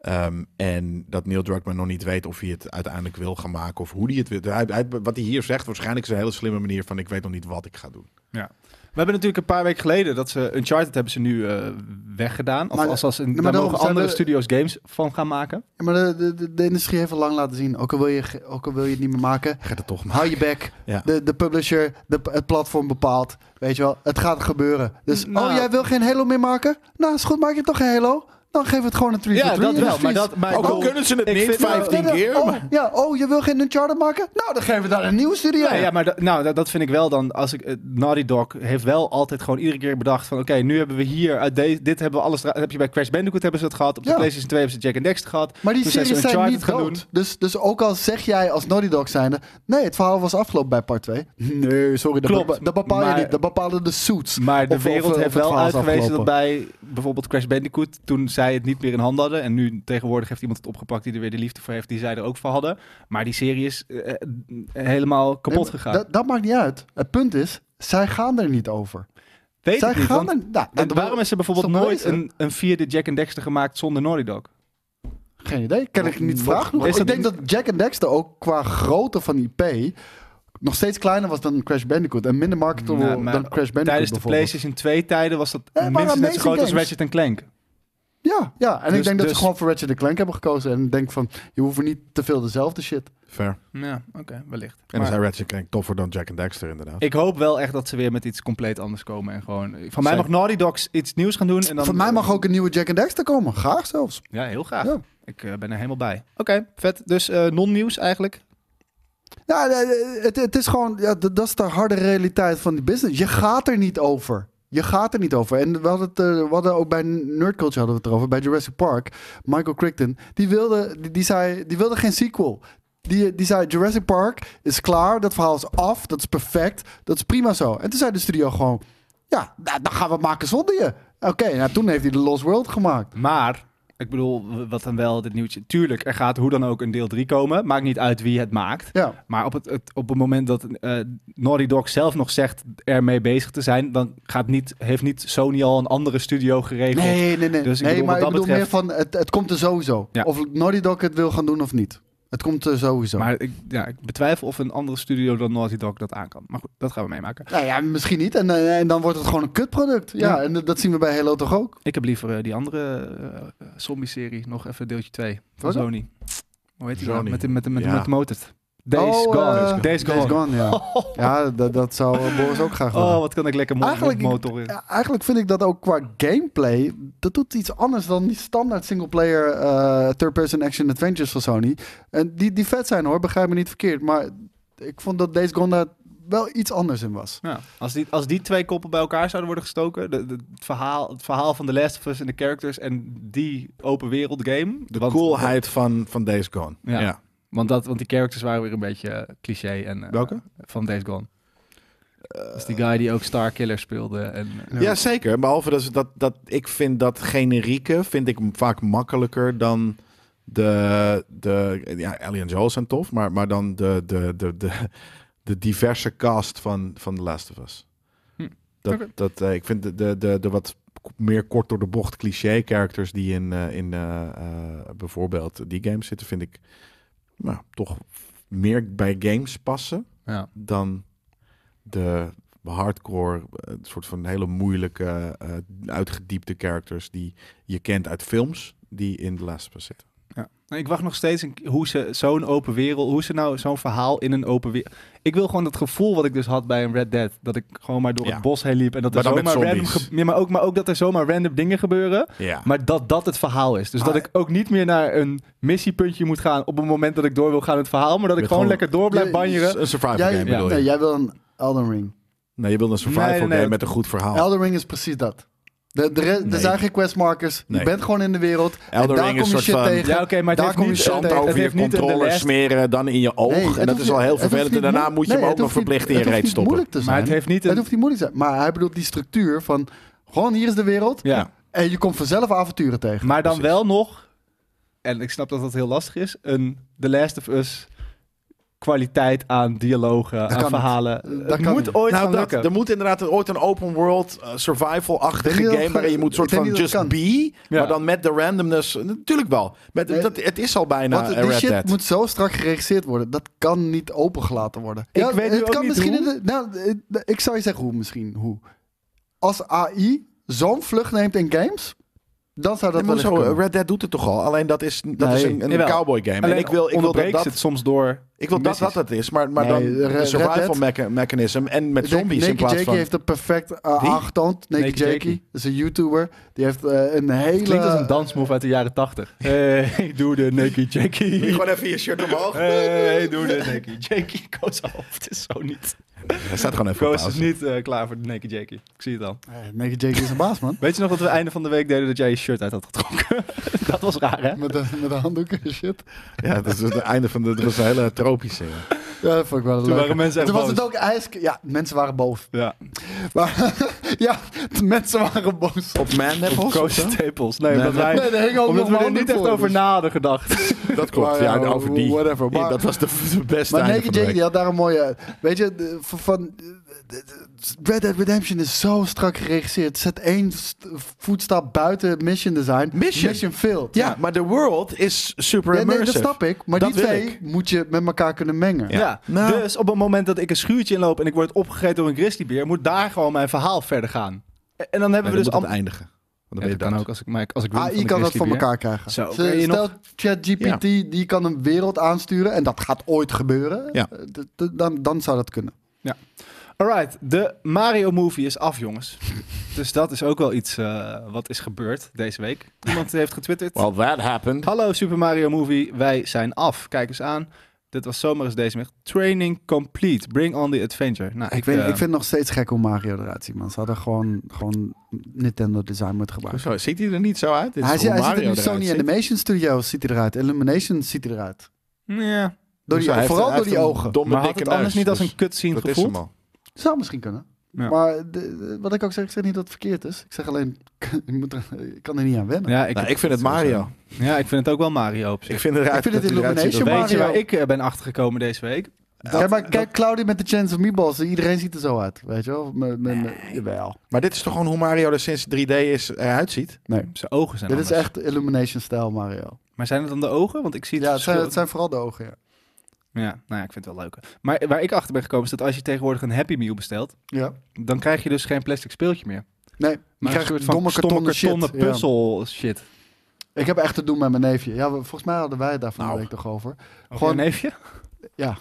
C: Ehm, en dat Neil Druckmann nog niet weet of hij het uiteindelijk wil gaan maken of hoe hij het wil. Hij, hij- wat hij hier zegt, waarschijnlijk is een hele slimme manier van ik weet nog niet wat ik ga doen.
B: We hebben natuurlijk een paar weken geleden dat ze Uncharted hebben ze nu eh weggedaan. Of
A: Maar-
B: als, als een,
A: maar
B: daar
A: daarom
B: mogen
A: zijn
B: andere
A: we-
B: studios games van gaan maken.
A: Ja, maar de, de, de, de industrie heeft al lang laten zien. Ook al wil je, ge- ook al wil je het niet meer maken.
C: Hij gaat het toch maken.
A: Hou je bek.
C: Ja.
A: De, de publisher, de, het platform bepaalt. Weet je wel, het gaat gebeuren. Dus,
B: Nou.
A: oh, jij wil geen Halo meer maken? Nou, is goed, maak je toch geen Halo? Dan geef het gewoon een 3
B: Ja, dat wel. Maar dat, maar
C: Ook al kunnen ze het
B: ik
C: niet
B: vind-
C: 15
A: Ja, ja.
C: keer.
A: Oh,
C: maar-
A: ja, oh, je wil geen Uncharted maken? Nou, dan geven we daar een nieuwe studio.
B: Ja, ja, maar dat- nou, dat, dat vind ik wel dan. Als ik, eh, Naughty Dog heeft wel altijd gewoon iedere keer bedacht van... oké, nu hebben we hier, uit deze, dit hebben we alles... eruit- Heb je bij Crash Bandicoot hebben ze dat gehad. Op de
A: Ja.
B: PlayStation 2 hebben ze Jack and Dexter gehad.
A: Maar die
B: Toen zijn ze
A: series zijn
B: Uncharted
A: niet
B: gaan
A: dood.
B: doen.
A: Dus, dus ook al zeg jij als Naughty Dog zijnde... Nee, het verhaal was afgelopen bij part 2. Nee, sorry, dat,
B: Klopt,
A: bepa- dat bepaal
B: maar-
A: je niet. Dat bepalen de suits.
B: Maar de
A: Of- of-
B: wereld
A: of
B: heeft
A: het
B: wel
A: verhaal is
B: uitgewezen dat
A: afgelopen.
B: bij bijvoorbeeld Crash Bandicoot... toen zij het niet meer in handen hadden... en nu tegenwoordig heeft iemand het opgepakt die er weer de liefde voor heeft... die zij er ook voor hadden. Maar die serie is eh, eh, helemaal kapot
A: Nee, maar
B: gegaan.
A: Dat, dat maakt niet uit. Het punt is, zij gaan er niet over.
B: Weet
A: zij
B: ik niet,
A: gaan
B: want-
A: er... eh. Nou,
B: en
A: dat-
B: waarom is er bijvoorbeeld
A: is toch
B: nooit
A: bewezen?
B: een, een vierde Jack and Dexter gemaakt zonder Naughty Dog?
A: Geen idee. Kan ik niet
B: Wat-
A: vragen. genoeg.
B: is
A: Ik
B: dat-
A: denk dat Jack and Dexter ook qua grootte van IP... nog steeds kleiner was dan Crash Bandicoot. En minder marketable
B: Nou, maar
A: dan Crash Bandicoot
B: Tijdens de
A: bijvoorbeeld. Eh,
B: PlayStation 2 tijden was dat
A: maar
B: minstens net zo
A: Amazing
B: groot als
A: Games.
B: Ratchet Clank.
A: Ja, ja. en
B: Dus-
A: ik denk dat
B: dus-
A: ze gewoon voor Ratchet Clank hebben gekozen. En ik denk van, je hoeft niet te veel dezelfde shit.
C: Fair. En
B: Ja, oké, wellicht.
C: dan zijn Ratchet Clank toffer dan Jack and Dexter inderdaad.
B: ik hoop wel echt dat ze weer met iets compleet anders komen. En gewoon, van mij
C: Zeker.
B: mag Naughty Dogs iets nieuws gaan doen. En dan,
A: Voor mij mag ook een nieuwe Jack and Dexter komen. Graag zelfs.
B: Ja, heel graag.
A: Ja.
B: Ik eh, ben er helemaal bij. Oké, vet. Dus eh, non-nieuws eigenlijk.
A: Ja, eh, het, het is gewoon, ja, dat dat is de harde realiteit van die business. Je gaat er niet over. Je gaat er niet over. En we hadden, het, eh, we hadden ook bij Nerd Culture hadden we het erover, bij Jurassic Park. Michael Crichton, die wilde, die, die zei, die wilde geen sequel. Die, die zei, Jurassic Park is klaar, dat verhaal is af, dat is perfect, dat is prima zo. En toen zei de studio gewoon, ja, nou, dan gaan we het maken zonder je. Oké, nou, toen heeft hij The Lost World gemaakt.
B: Maar, ik bedoel, w- wat dan wel dit nieuwtje. Tuurlijk, er gaat hoe dan ook een deel 3 komen. Maakt niet uit wie het maakt.
A: Ja,
B: Maar op het, het- op het moment dat eh Naughty Dog zelf nog zegt ermee bezig te zijn, dan gaat niet, heeft niet Sony al een andere studio geregeld.
A: nee, nee, nee.
B: Dus ik
A: nee,
B: bedoel,
A: maar
B: wat
A: ik
B: dat
A: bedoel
B: betreft-
A: meer van, het, het komt er sowieso.
B: Ja.
A: Of Naughty Dog het wil gaan doen of niet. Het komt er sowieso.
B: Maar ik, ja, ik betwijfel of een andere studio dan Naughty Dog dat aan kan. Maar goed, dat gaan we meemaken.
A: Nou ja, misschien niet. En, eh, en dan wordt het gewoon een kutproduct. Ja,
B: Ja.
A: en dat zien we bij Halo toch ook.
B: Ik heb liever eh, die andere eh, zombie-serie, nog even deeltje 2 van
A: Wat dan?
B: Sony. Hoe heet die nou?
C: Sony.
B: Met, de- met, de- met, de-
C: Ja.
B: met de motors. Days
A: Oh,
B: Gone.
A: eh,
B: Days Gone.
A: Days Gone, ja.
B: (laughs)
A: ja, dat, dat zou eh, Boris ook graag willen.
B: Oh, wat kan ik lekker mo-
A: Eigenlijk-
B: motor in.
A: Ja, eigenlijk vind ik dat ook qua gameplay, dat doet iets anders dan die standaard singleplayer eh third-person action adventures van Sony. En die, die vet zijn hoor, begrijp me niet verkeerd. Maar ik vond dat Days Gone daar wel iets anders in was.
B: Ja, als, die, als die twee koppen bij elkaar zouden worden gestoken, de, de- het, verhaal, het verhaal van The Last of Us en de characters en die open wereld game.
C: De
B: want,
C: coolheid van, van Days Gone.
B: Ja.
C: Ja.
B: Want, dat, want die characters waren weer een beetje eh, cliché. En, eh,
C: Welke?
B: Van Days Gone. Dat is die guy die ook Star Killer speelde. En, eh,
C: Ja, zeker. Behalve dat, ze- dat, dat ik vind dat generieke vind ik vaak makkelijker dan de, de ja, Ellie en Joel zijn tof, maar, maar dan de, de, de, de, de diverse cast van, van The Last of Us.
B: Hm.
C: Dat,
B: Oké.
C: dat, eh, ik vind de, de, de, de wat k- meer kort door de bocht cliché characters die in, eh, in eh, eh, bijvoorbeeld die games zitten, vind ik nou, toch meer bij games passen
B: ja.
C: dan de hardcore, eh, soort van hele moeilijke, eh, uitgediepte characters die je kent uit films, die in The Last of Us zitten.
B: En Ik wacht nog steeds een- hoe ze zo'n open wereld, hoe ze nou zo'n verhaal in een open wereld. Ik wil gewoon dat gevoel wat ik dus had bij een Red Dead, dat ik gewoon maar door
C: Ja.
B: het bos heen liep en dat er
C: Maar dan met
B: zomaar random,
C: zombies.
B: ge- ja, maar ook, maar ook dat er zomaar random dingen gebeuren,
C: Ja. Ah.
B: maar dat dat het verhaal is. Dus dat ik ook niet meer naar een missiepuntje moet gaan op het moment dat ik door wil gaan in het verhaal, maar dat ik
C: Met
B: gewoon,
C: gewoon- eh,
B: lekker door blijf
A: Ja,
B: banjeren.
C: Een survival
A: Jij-
C: game bedoel
B: Ja.
C: je?
A: Nee, jij wil een Elden Ring.
C: Nee, je wil een survival
B: Nee, nee, nee.
C: game met een goed verhaal.
A: Elden Ring is precies dat. De, de re-
C: Oh. Nee.
A: Er zijn geen questmarkers.
C: Nee.
A: Je bent gewoon in de wereld.
C: Elden
A: en daar
C: Ring
A: kom
C: is
A: je
C: soort
A: shit
C: van-
A: tegen.
B: Ja, oké, maar het
A: daar
B: heeft
A: kom je
B: niet-
A: shit
B: het
A: tegen.
C: Zand
B: heeft
C: over je
B: niet in de
C: controller
B: les-
C: smeren, dan in je oog.
A: Nee,
C: en
A: het
C: dat
A: hoeft
C: is al
A: niet-
C: heel
A: het hoeft
C: vervelend. En
A: niet
C: daarna
A: moe-
C: moet je
A: nee,
C: hem ook
A: het
C: nog
A: hoeft niet-
C: verplicht in je
A: het hoeft
C: reet
A: niet
C: stoppen.
A: moeilijk te
B: Maar het
A: zijn.
B: heeft niet een-
A: Het hoeft niet moeilijk te zijn. Maar hij bedoelt die structuur van... Gewoon, hier is de wereld.
B: Ja.
A: En je komt vanzelf avonturen tegen.
B: Maar dan
C: Precies.
B: wel nog, en ik snap dat dat heel lastig is, een The Last of Us kwaliteit aan dialogen, aan
A: kan niet.
B: verhalen.
A: Dat
B: het
A: kan
B: moet
A: niet.
B: ooit
C: Nou,
B: gaan
C: dat-
B: lukken.
C: er moet inderdaad een- ooit een open world eh,
A: Ik denk
C: survival-achtige
A: niet
C: game
A: dat-
C: waarin je moet
A: ik
C: soort
A: denk
C: van
A: niet dat
C: just
A: het
C: be,
B: Ja.
C: maar dan met de randomness. Natuurlijk wel. Met,
A: Nee.
C: dat, het is al bijna
B: Nou,
A: Want
C: een
A: die
C: Red
A: shit
C: Dead.
A: moet zo strak geregisseerd worden. Dat kan niet opengelaten worden.
B: Ik weet nu
A: het
B: ook
A: kan
B: niet
A: misschien
B: hoe.
A: in de- nou, eh, ik zou je zeggen hoe misschien. Hoe. Als AI zo'n vlucht neemt in games, dan zou dat
C: Ja, maar
A: wel
C: zo, eh, Red Dead doet het toch al. Alleen dat is, dat
A: Nee.
C: is een, een
B: Jawel.
C: cowboy game.
B: Alleen
C: en ik wil, ik wil dat
B: onderbreekt
C: dat,
B: ze het soms door.
C: ik wil dat, dat
B: missies.
C: het is. Maar, maar
A: Nee,
C: dan
A: Red
C: een survival
A: Dead-
C: mecha- mechanism. En met zombies in plaats
A: Jakey
C: van...
A: heeft het perfect eh,
C: Wie?
A: aangetoond. Naked,
B: Naked
A: Jakey.
B: Jakey.
A: is een YouTuber. Die heeft eh, een hele...
B: Het klinkt als een dansmove uit de jaren tachtig. (laughs) Hey, doe de Nicky
C: Doe je
B: Jackie.
C: (laughs) Gewoon even je shirt omhoog.
B: Hey, doe de Nicky (laughs) Jackie. Koos af. Het is zo niet.
C: Hij staat gewoon even op
B: Koos is
C: pauze.
B: niet eh, klaar voor de Nicky Jackie. Ik zie het al.
A: Eh, Naked Jakey is een baas, man. (laughs)
B: Weet je nog dat we einde van de week deden dat jij je shirt uit had getrokken? (laughs) dat was raar, hè?
A: Met de, met de handdoeken en shit.
C: Ja, dat is het einde van de... Dat was een hele tropische. ja.
A: Ja, dat vond ik wel leuk.
B: Toen waren mensen echt
A: Toen was
B: boos.
A: het ook ijs... Ja, mensen waren boos. (laughs)
B: Ja.
A: Maar, (laughs) ja, de mensen waren boos.
C: Op Man Nipples?
B: Koos Staples. Nee, omdat wij...
A: Nee, er hingen ook
B: Omdat
A: nog
B: we er
A: handen
B: niet echt
A: voor,
B: over
A: dus-
B: na hadden gedacht.
C: Dat klopt,
A: Maar ja,
C: ja, over die.
A: whatever,
C: Ja,
A: maar-
C: (laughs) dat was de, de beste
A: Maar
C: einde
A: Naked
C: van de
A: Jake
C: week.
A: die had daar een mooie... Weet je, de- van- van... Red Dead Redemption is zo strak geregisseerd. Zet één st- voetstap buiten mission design.
C: Mission?
A: failed.
C: (laughs) Ja, maar de world is super
A: Ja, nee,
C: immersive.
A: dat snap ik. Maar
C: Dat
A: die
C: wil
A: twee
C: ik.
A: moet je met elkaar kunnen mengen.
B: Ja.
C: Nou.
B: Dus op het moment dat ik een schuurtje inloop en ik word opgegeten door een grizzlybeer, moet daar gewoon mijn verhaal verder gaan. En en dan hebben
C: Nee,
B: we dus... am-
C: dan moet het eindigen. Want
B: Ja,
C: dan Ah, weet je
B: dat kan
C: dat.
B: ook als ik, maar ik- als ik win van
A: AI
B: de
A: kan dat voor
B: grizzlybeer.
A: elkaar krijgen.
B: Zo,
A: Ze-
B: kun je
A: Stel,
B: nog-
A: ChatGPT die kan een wereld aansturen en dat gaat ooit gebeuren.
C: Ja.
A: Eh, d- d- Dan, dan zou dat kunnen.
B: Alright, de Mario Movie is af, jongens. dus dat is ook wel iets eh, wat is gebeurd deze week. Iemand heeft getwitterd.
C: Well, that happened.
B: Hallo Super Mario Movie, wij zijn af. Kijk eens aan. Dit was zomaar eens deze week. Training complete. Bring on the adventure. Nou,
A: Ik, weet,
B: eh,
A: ik vind het nog steeds gek hoe Mario eruit ziet, man. Ze hadden gewoon, gewoon Nintendo design moeten gebruiken.
C: Hoezo, Oh, ziet hij er niet zo uit? Dit is
A: Hij,
C: hoe
A: zi- hij ziet er
C: Mario
A: nu
C: eruit
A: Sony
C: ziet.
A: Animation Studios ziet hij eruit. Illumination ziet hij eruit.
B: ja.
A: Door die,
C: Hoezo, Dus
A: vooral
C: hij heeft-
A: door
C: hij
A: die
C: heeft een
A: ogen.
C: Domme,
B: Maar had
C: dikke
B: het anders
C: neus,
B: niet als
C: dus
B: een cutscene
C: Dat is
B: gevoeld?
C: hem al.
A: Zou misschien kunnen.
B: Ja.
A: Maar de- de- wat ik ook zeg, ik zeg niet dat het verkeerd is. Ik zeg alleen, (laughs) ik, moet er, ik kan er niet aan wennen.
B: Ja, ik,
C: Nou, ik vind het Mario.
B: ja, ik vind het ook wel Mario op zich.
C: Ik vind, eruit
A: Ik vind het
C: dat hij eruit ziet als-
A: Illumination,
B: Weet je waar
A: Mario.
B: ik eh, ben achtergekomen deze week?
A: Kijk, maar kijk, Claudia met de Chance of Meatballs. Iedereen ziet er zo uit, weet je wel? Met, met, met- Jawel.
C: Maar dit is toch gewoon hoe Mario er sinds 3D is eruit ziet?
B: Zijn ogen zijn
A: Dit is
B: anders.
A: echt Illumination-stijl, Mario.
B: Maar zijn het dan de ogen? Want ik zie het
A: Ja, het zijn,
B: verschil-
A: het zijn vooral de ogen, ja.
B: Ja, nou ja, ik vind het wel leuk. Maar waar ik achter ben gekomen is dat als je tegenwoordig een Happy Meal bestelt,
A: ja.
B: dan krijg je dus geen plastic speeltje meer.
A: Nee, je
B: Maar
A: krijgt
B: een soort
A: domme
B: van stomme
A: kartonnen,
B: kartonnen
A: shit. Ja.
B: puzzel shit.
A: Ik heb echt te doen met mijn neefje. Ja, we- volgens mij hadden wij het daar van de
C: Nou.
A: week toch over.
B: Gewoon
A: Gewoon-
B: een
A: (laughs)
B: neefje?
A: Ja.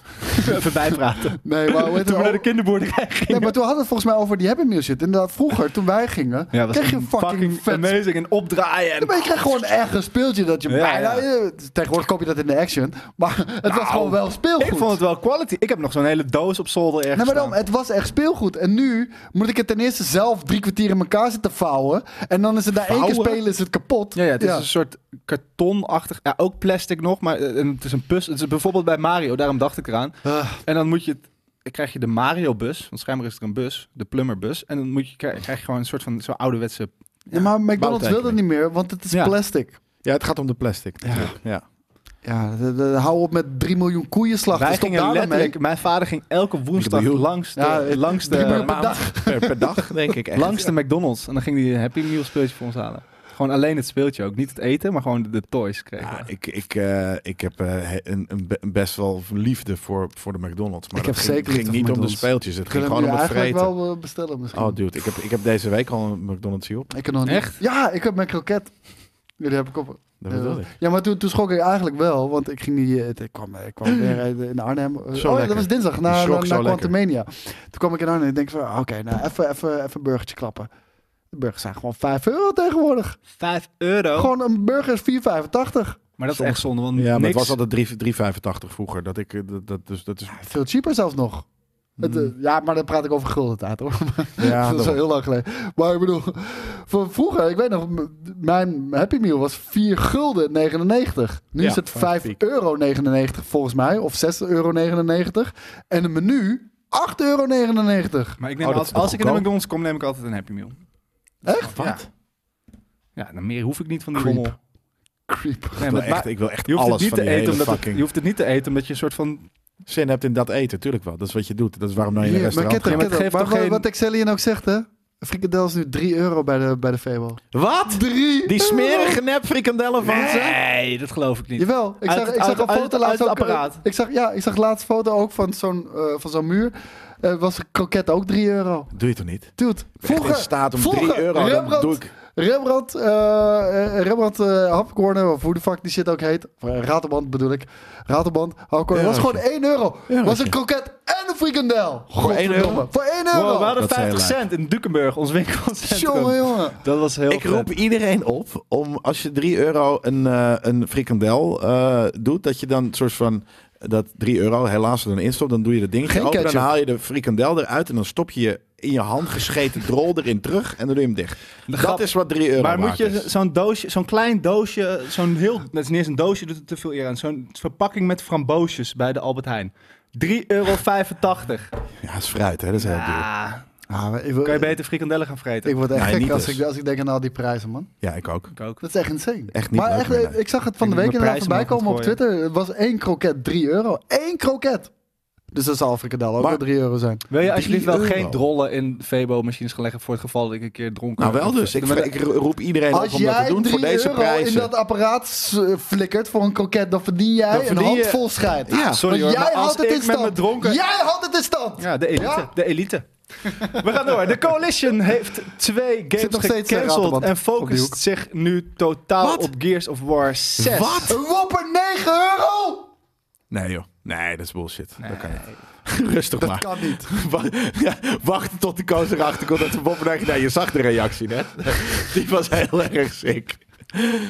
B: Even bijpraten.
A: Nee, maar, hoe
B: (laughs) Toen
A: heet
B: we
A: het?
B: naar de kinderboerderij gingen.
A: Nou, Nee, maar toen hadden we het volgens mij over die Happy Meal shit. Inderdaad, vroeger, toen wij gingen,
B: Ja, dat was
A: kreeg je een fucking, vet
B: amazing. En opdraaien. En...
A: Maar je krijgt gewoon echt een speeltje dat je
B: Ja,
A: bijna...
B: ja. Nou,
A: Tegenwoordig koop je dat in de action. Maar het was gewoon wel speelgoed.
B: Ik vond het wel quality. Ik heb nog zo'n hele doos op zolder ergens
A: Nee, maar dan,
B: staan.
A: het was echt speelgoed. En nu moet ik het ten eerste zelf drie kwartier in elkaar zitten vouwen. En dan is het na één keer
C: Vouwen?
A: spelen is het kapot.
B: Ja, ja, het is dus,
A: Ja.
B: een soort kartonachtig. Ja, ook plastic nog, maar eh, en het is een puzzel. Het is bijvoorbeeld bij Mario, daarom dacht ik eraan.
A: Ah.
B: En dan moet je het- dan krijg je de Mario-bus, want schijnbaar is er een bus, de plummerbus. En dan moet je, krijg, krijg je gewoon een soort van zo'n ouderwetse.
A: Ja, maar McDonald's wil dat
C: bouwtekening.
A: niet meer, want het is
B: Ja.
A: plastic.
C: Ja, het gaat om de plastic. Ja. ja.
A: Ja, de- de- hou op met 3 miljoen koeien slachten.
B: Wij
A: Stop
B: gingen
A: daar dan mee.
B: letterlijk, mijn vader ging elke woensdag
C: miljoen.
B: langs de,
A: Ja, het-
B: langs de,
A: drie
C: Per
A: per (laughs)
C: maand,
A: dag.
C: Per, per dag, denk ik echt.
B: langs de McDonald's. En dan ging hij een Happy Meal speeltje voor ons halen. Gewoon alleen het speeltje ook. Niet het eten, maar gewoon de, de toys kregen.
C: Ja,
B: we.
C: ik, ik, eh, ik heb eh, he- een, een be- een best wel liefde voor, voor de McDonald's. Maar
A: Ik heb
C: dat ging,
A: zeker
C: ging
A: liefde
C: niet
A: voor
C: om de
A: McDonald's.
C: speeltjes. Het ging
A: Kunnen we
C: gewoon
A: nu
C: om het
A: eigenlijk
C: vreten.
A: wel eh, bestellen misschien?
C: Oh, dude, ik heb, ik heb deze week al een McDonald's hier op.
A: Ik heb nog niet.
B: Echt?
A: Ja, ik heb mijn kroket. Jullie heb ik op.
C: Dat bedoel ik.
A: Ja, maar toen, toen schrok ik eigenlijk wel, want ik ging die, eh, ik kwam, ik
C: (clears throat)
A: kwam weer eh, in Arnhem. Eh,
C: Zo
A: oh,
C: lekker.
A: dat was dinsdag na, na,
C: schrok
A: na
C: zo lekker.
A: Quantumania. Toen kwam ik in Arnhem en ik denk van, ah, oké, nou even, even, even een burgertje klappen. De burgers zijn gewoon 5 euro tegenwoordig.
B: 5 euro.
C: Oh.
A: Gewoon een burger is 4,85.
B: maar dat is echt zonde, want
C: Ja, maar
B: niks...
C: het was altijd drie- 3,85 vroeger. Dat ik, eh, dat, dat, dus, dat is,
A: Veel cheaper zelfs nog. Het,
C: Hmm.
A: eh, ja, maar dan praat ik over gulden tijd hoor.
C: ja,
A: dat is al
C: dat,
A: heel lang geleden. Maar ik bedoel, van vroeger, ik weet nog, m- mijn Happy Meal was 4 gulden 99. Nu
C: Ja,
A: is het
C: van
A: 5
C: piek.
A: euro 99 volgens mij, of 6,99 euro. En een menu 8,99 euro.
B: Maar ik neem
C: Oh, dat
B: altijd,
C: is toch
B: als ik in de
C: goedkoop?
B: McDonald's kom, neem ik altijd een Happy Meal.
A: Echt?
B: Ja.
C: Wat?
B: Ja, dan meer hoef ik niet van die
A: Creep.
B: rommel.
A: Creep.
B: Nee,
C: ik, wil
B: maar-
C: echt, ik wil echt
B: Je hoeft,
C: alles
B: het niet
C: van
B: te
C: die hele
B: eten omdat het,
C: fucking...
B: je hoeft het niet te eten omdat je een soort van...
C: Zin hebt in dat eten, tuurlijk wel. Dat is wat je doet. Dat is waarom nou je in een
A: Hier, maar
C: restaurant
A: ketter,
B: Ja, maar het
A: ketter.
B: geeft
A: Maar
B: toch
A: wat,
B: geen-
A: wat Excellion ook zegt, hè? Een Frikandel is nu 3 euro bij de, bij de Febo.
C: gaat. Wat?
A: 3
C: Die smerige nep frikandellen van ze?
B: Nee, dat geloof ik niet.
A: Jawel, ik
B: Uit
A: zag,
B: het-
A: ik zag
B: uit-
A: een
B: uit-
A: foto
B: uit
A: laatst
B: het
A: ook. eh,
B: apparaat.
A: Ik zag, ja, ik zag laatst foto ook van zo'n eh, van zo'n muur. Eh, was een kroket ook 3 euro.
C: Doe je toch niet?
A: Dude,
C: Vroeger,
A: vroeger,
C: in staat om
A: vroeger
C: 3 euro. Dan
A: Rembrandt,
C: doe ik...
A: Rembrandt, eh, eh, Rembrandt eh, hapcorner, of hoe de fuck die shit ook heet. Of, eh, Raterband bedoel ik. Raterband, hapcorner. was gewoon
C: Eurotje.
A: 1 euro. Was
C: Eurotje.
A: een kroket en een frikandel.
C: Voor 1
A: Godverdomme.
C: euro?
A: Voor 1
B: Wow, we
A: euro.
B: hadden
C: Dat zei
B: 50
C: Lijn.
B: cent in Dukenburg, ons
A: Jongen,
B: winkelcentrum.
A: jongen.
B: Dat was heel
C: Ik
B: vet.
C: roep iedereen op om als je 3 euro een, eh, een frikandel eh, doet, dat je dan een soort van dat 3 euro helaas er dan instopt, dan doe je dat ding
A: Geen
C: open, dan
A: ketchup.
C: haal je de frikandel eruit en dan stop je je in je hand gescheten drol erin terug en dan doe je hem dicht.
B: grap-
C: dat is wat 3 euro
B: Maar moet
C: waard
B: je
C: is.
B: zo'n doosje, zo'n klein doosje, zo'n
C: (laughs)
B: heel, dat is niet eens een doosje, doet het te veel eer aan. Zo'n verpakking met framboosjes bij de Albert Heijn. 3,85 euro.
C: Ja, dat is fruit, hè? dat is heel duur.
B: Ah,
A: Ah, maar ik, wil-
B: kan je beter frikandellen gaan vreten?
A: ik word echt
C: Nee,
A: gek
C: niet
A: als
C: dus.
A: ik, als ik denk aan al die prijzen, man.
C: Ja, ik ook.
B: Ik ook.
A: Dat is echt insane.
C: Echt niet
A: Maar
C: leuk
A: echt, eh,
C: meer, nee.
A: ik zag het van de
B: Ik
A: week
B: denk dat mijn
A: inderdaad voorbij
B: prijzen
A: komen op
B: omhoog gaan
A: Twitter. Het was één kroket 3 euro. Eén kroket! Dus dat zal frikandel ook
C: Maar-
A: wel 3 euro zijn.
B: Wil je alsjeblieft wel
C: €3 euro.
B: geen drollen in Febo-machines gaan leggen voor het geval dat ik een keer dronken
C: Nou wel dus, ik,
B: Maar-
C: ik roep iedereen op
A: Als
C: om dat te
A: jij
C: doen
A: 3
C: voor deze
A: euro in
C: prijzen.
A: dat apparaat s- eh, flikkert voor een kroket, dan verdien jij
B: Dan verdien
A: een
B: je-
A: handvol schijt.
C: Ja,
B: Sorry hoor,
A: Want jij
B: maar als
A: houdt het
B: ik
A: in
B: met
A: stand.
B: mijn dronken-
A: Jij houdt het in stand.
B: Ja, de elite.
A: Ja.
B: De elite. We gaan door. De Coalition heeft twee games
A: nog steeds, eh,
B: gecanceld
A: Raterband
B: en
A: op die hoek.
B: focust zich nu totaal
C: Wat?
B: op Gears of War 6.
C: Wat?
A: Een wopper 9 euro!
C: Nee joh, nee, dat is bullshit. Dat kan niet. (laughs) Rustig
A: Dat
C: maar.
A: kan niet.
C: (laughs) Wa- ja, wachten tot die koos erachter komt dat de Bob naar je zag de reactie net. (laughs) Die was heel erg sick.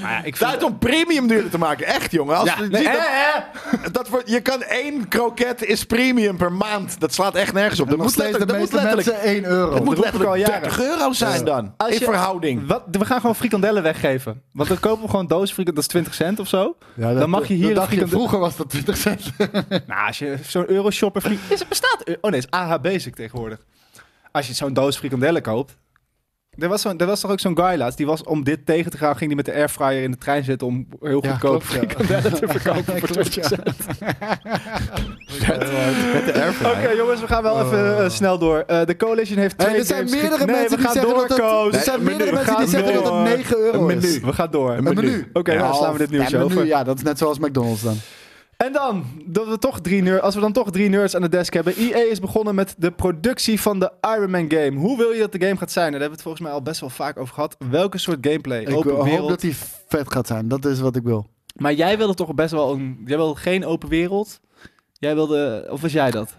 B: Maar ja, ik vind...
C: Tijd om premium duurder te maken. Echt, jongen. Als
B: Ja,
C: je,
B: nee, eh,
C: ziet
B: hè,
C: dat, dat wordt, je kan één kroket is premium per maand. Dat slaat echt nergens op. Dat
A: Nog
C: moet
A: steeds de
C: letterlijk, dat moet
A: meeste
C: letterlijk,
A: mensen 1 euro.
C: dat moet
B: roep ik al
C: letterlijk
B: jaren.
C: 30 euro zijn dan.
B: Als
C: in
B: je-
C: verhouding.
B: Wat? We gaan gewoon frikandellen weggeven. Want dan kopen we gewoon doos frikandellen. Dat is 20 cent of zo.
A: Ja, dat-
B: dan mag je hier
A: dat
B: een
A: dacht je,
B: frikandel-
A: Vroeger was dat 20 cent.
B: Nou, als je zo'n euroshopper... Frik... Is het bestaat... Oh nee, het is AH Basic tegenwoordig. Als je zo'n doos frikandellen koopt... Er was, zo'n- er was toch ook zo'n guy laatst, die was om dit tegen te gaan, ging die met de airfryer in de trein zitten om heel
A: Ja,
B: goedkoop
A: klopt, ja.
B: frikandellen te verkopen voor 20 cent. Oké, jongens, we gaan wel even eh, snel door. Eh, de Coalition heeft twee
A: Hey, er zijn
B: games
A: meerdere
B: ge- nee,
A: mensen
B: we
A: die
B: gaan
A: zeggen
B: door,
A: dat het-
B: Koos.
A: er zijn
C: Nee,
A: meerdere
C: we
A: mensen die
B: gaan
A: zeggen dat
B: door.
A: het 9 euro
C: Een
A: is.
C: menu.
B: We gaan door.
C: Een menu.
A: menu.
B: Oké, nou slaan we dit nieuws
A: ja, maar nu-
B: over.
A: ja, dat is net zoals McDonald's dan.
B: En dan, dat we toch drie nerd, als we dan toch drie nerds aan de desk hebben. EA is begonnen met de productie van de Iron Man game. Hoe wil je dat de game gaat zijn? En Daar hebben we het volgens mij al best wel vaak over gehad. Welke soort gameplay?
A: Ik
B: open
A: wil- hoop
B: wereld.
A: dat die vet gaat zijn. Dat is wat ik wil.
B: Maar jij wilde toch best wel een... Jij wilde geen open wereld. Jij wilde... Of was jij dat?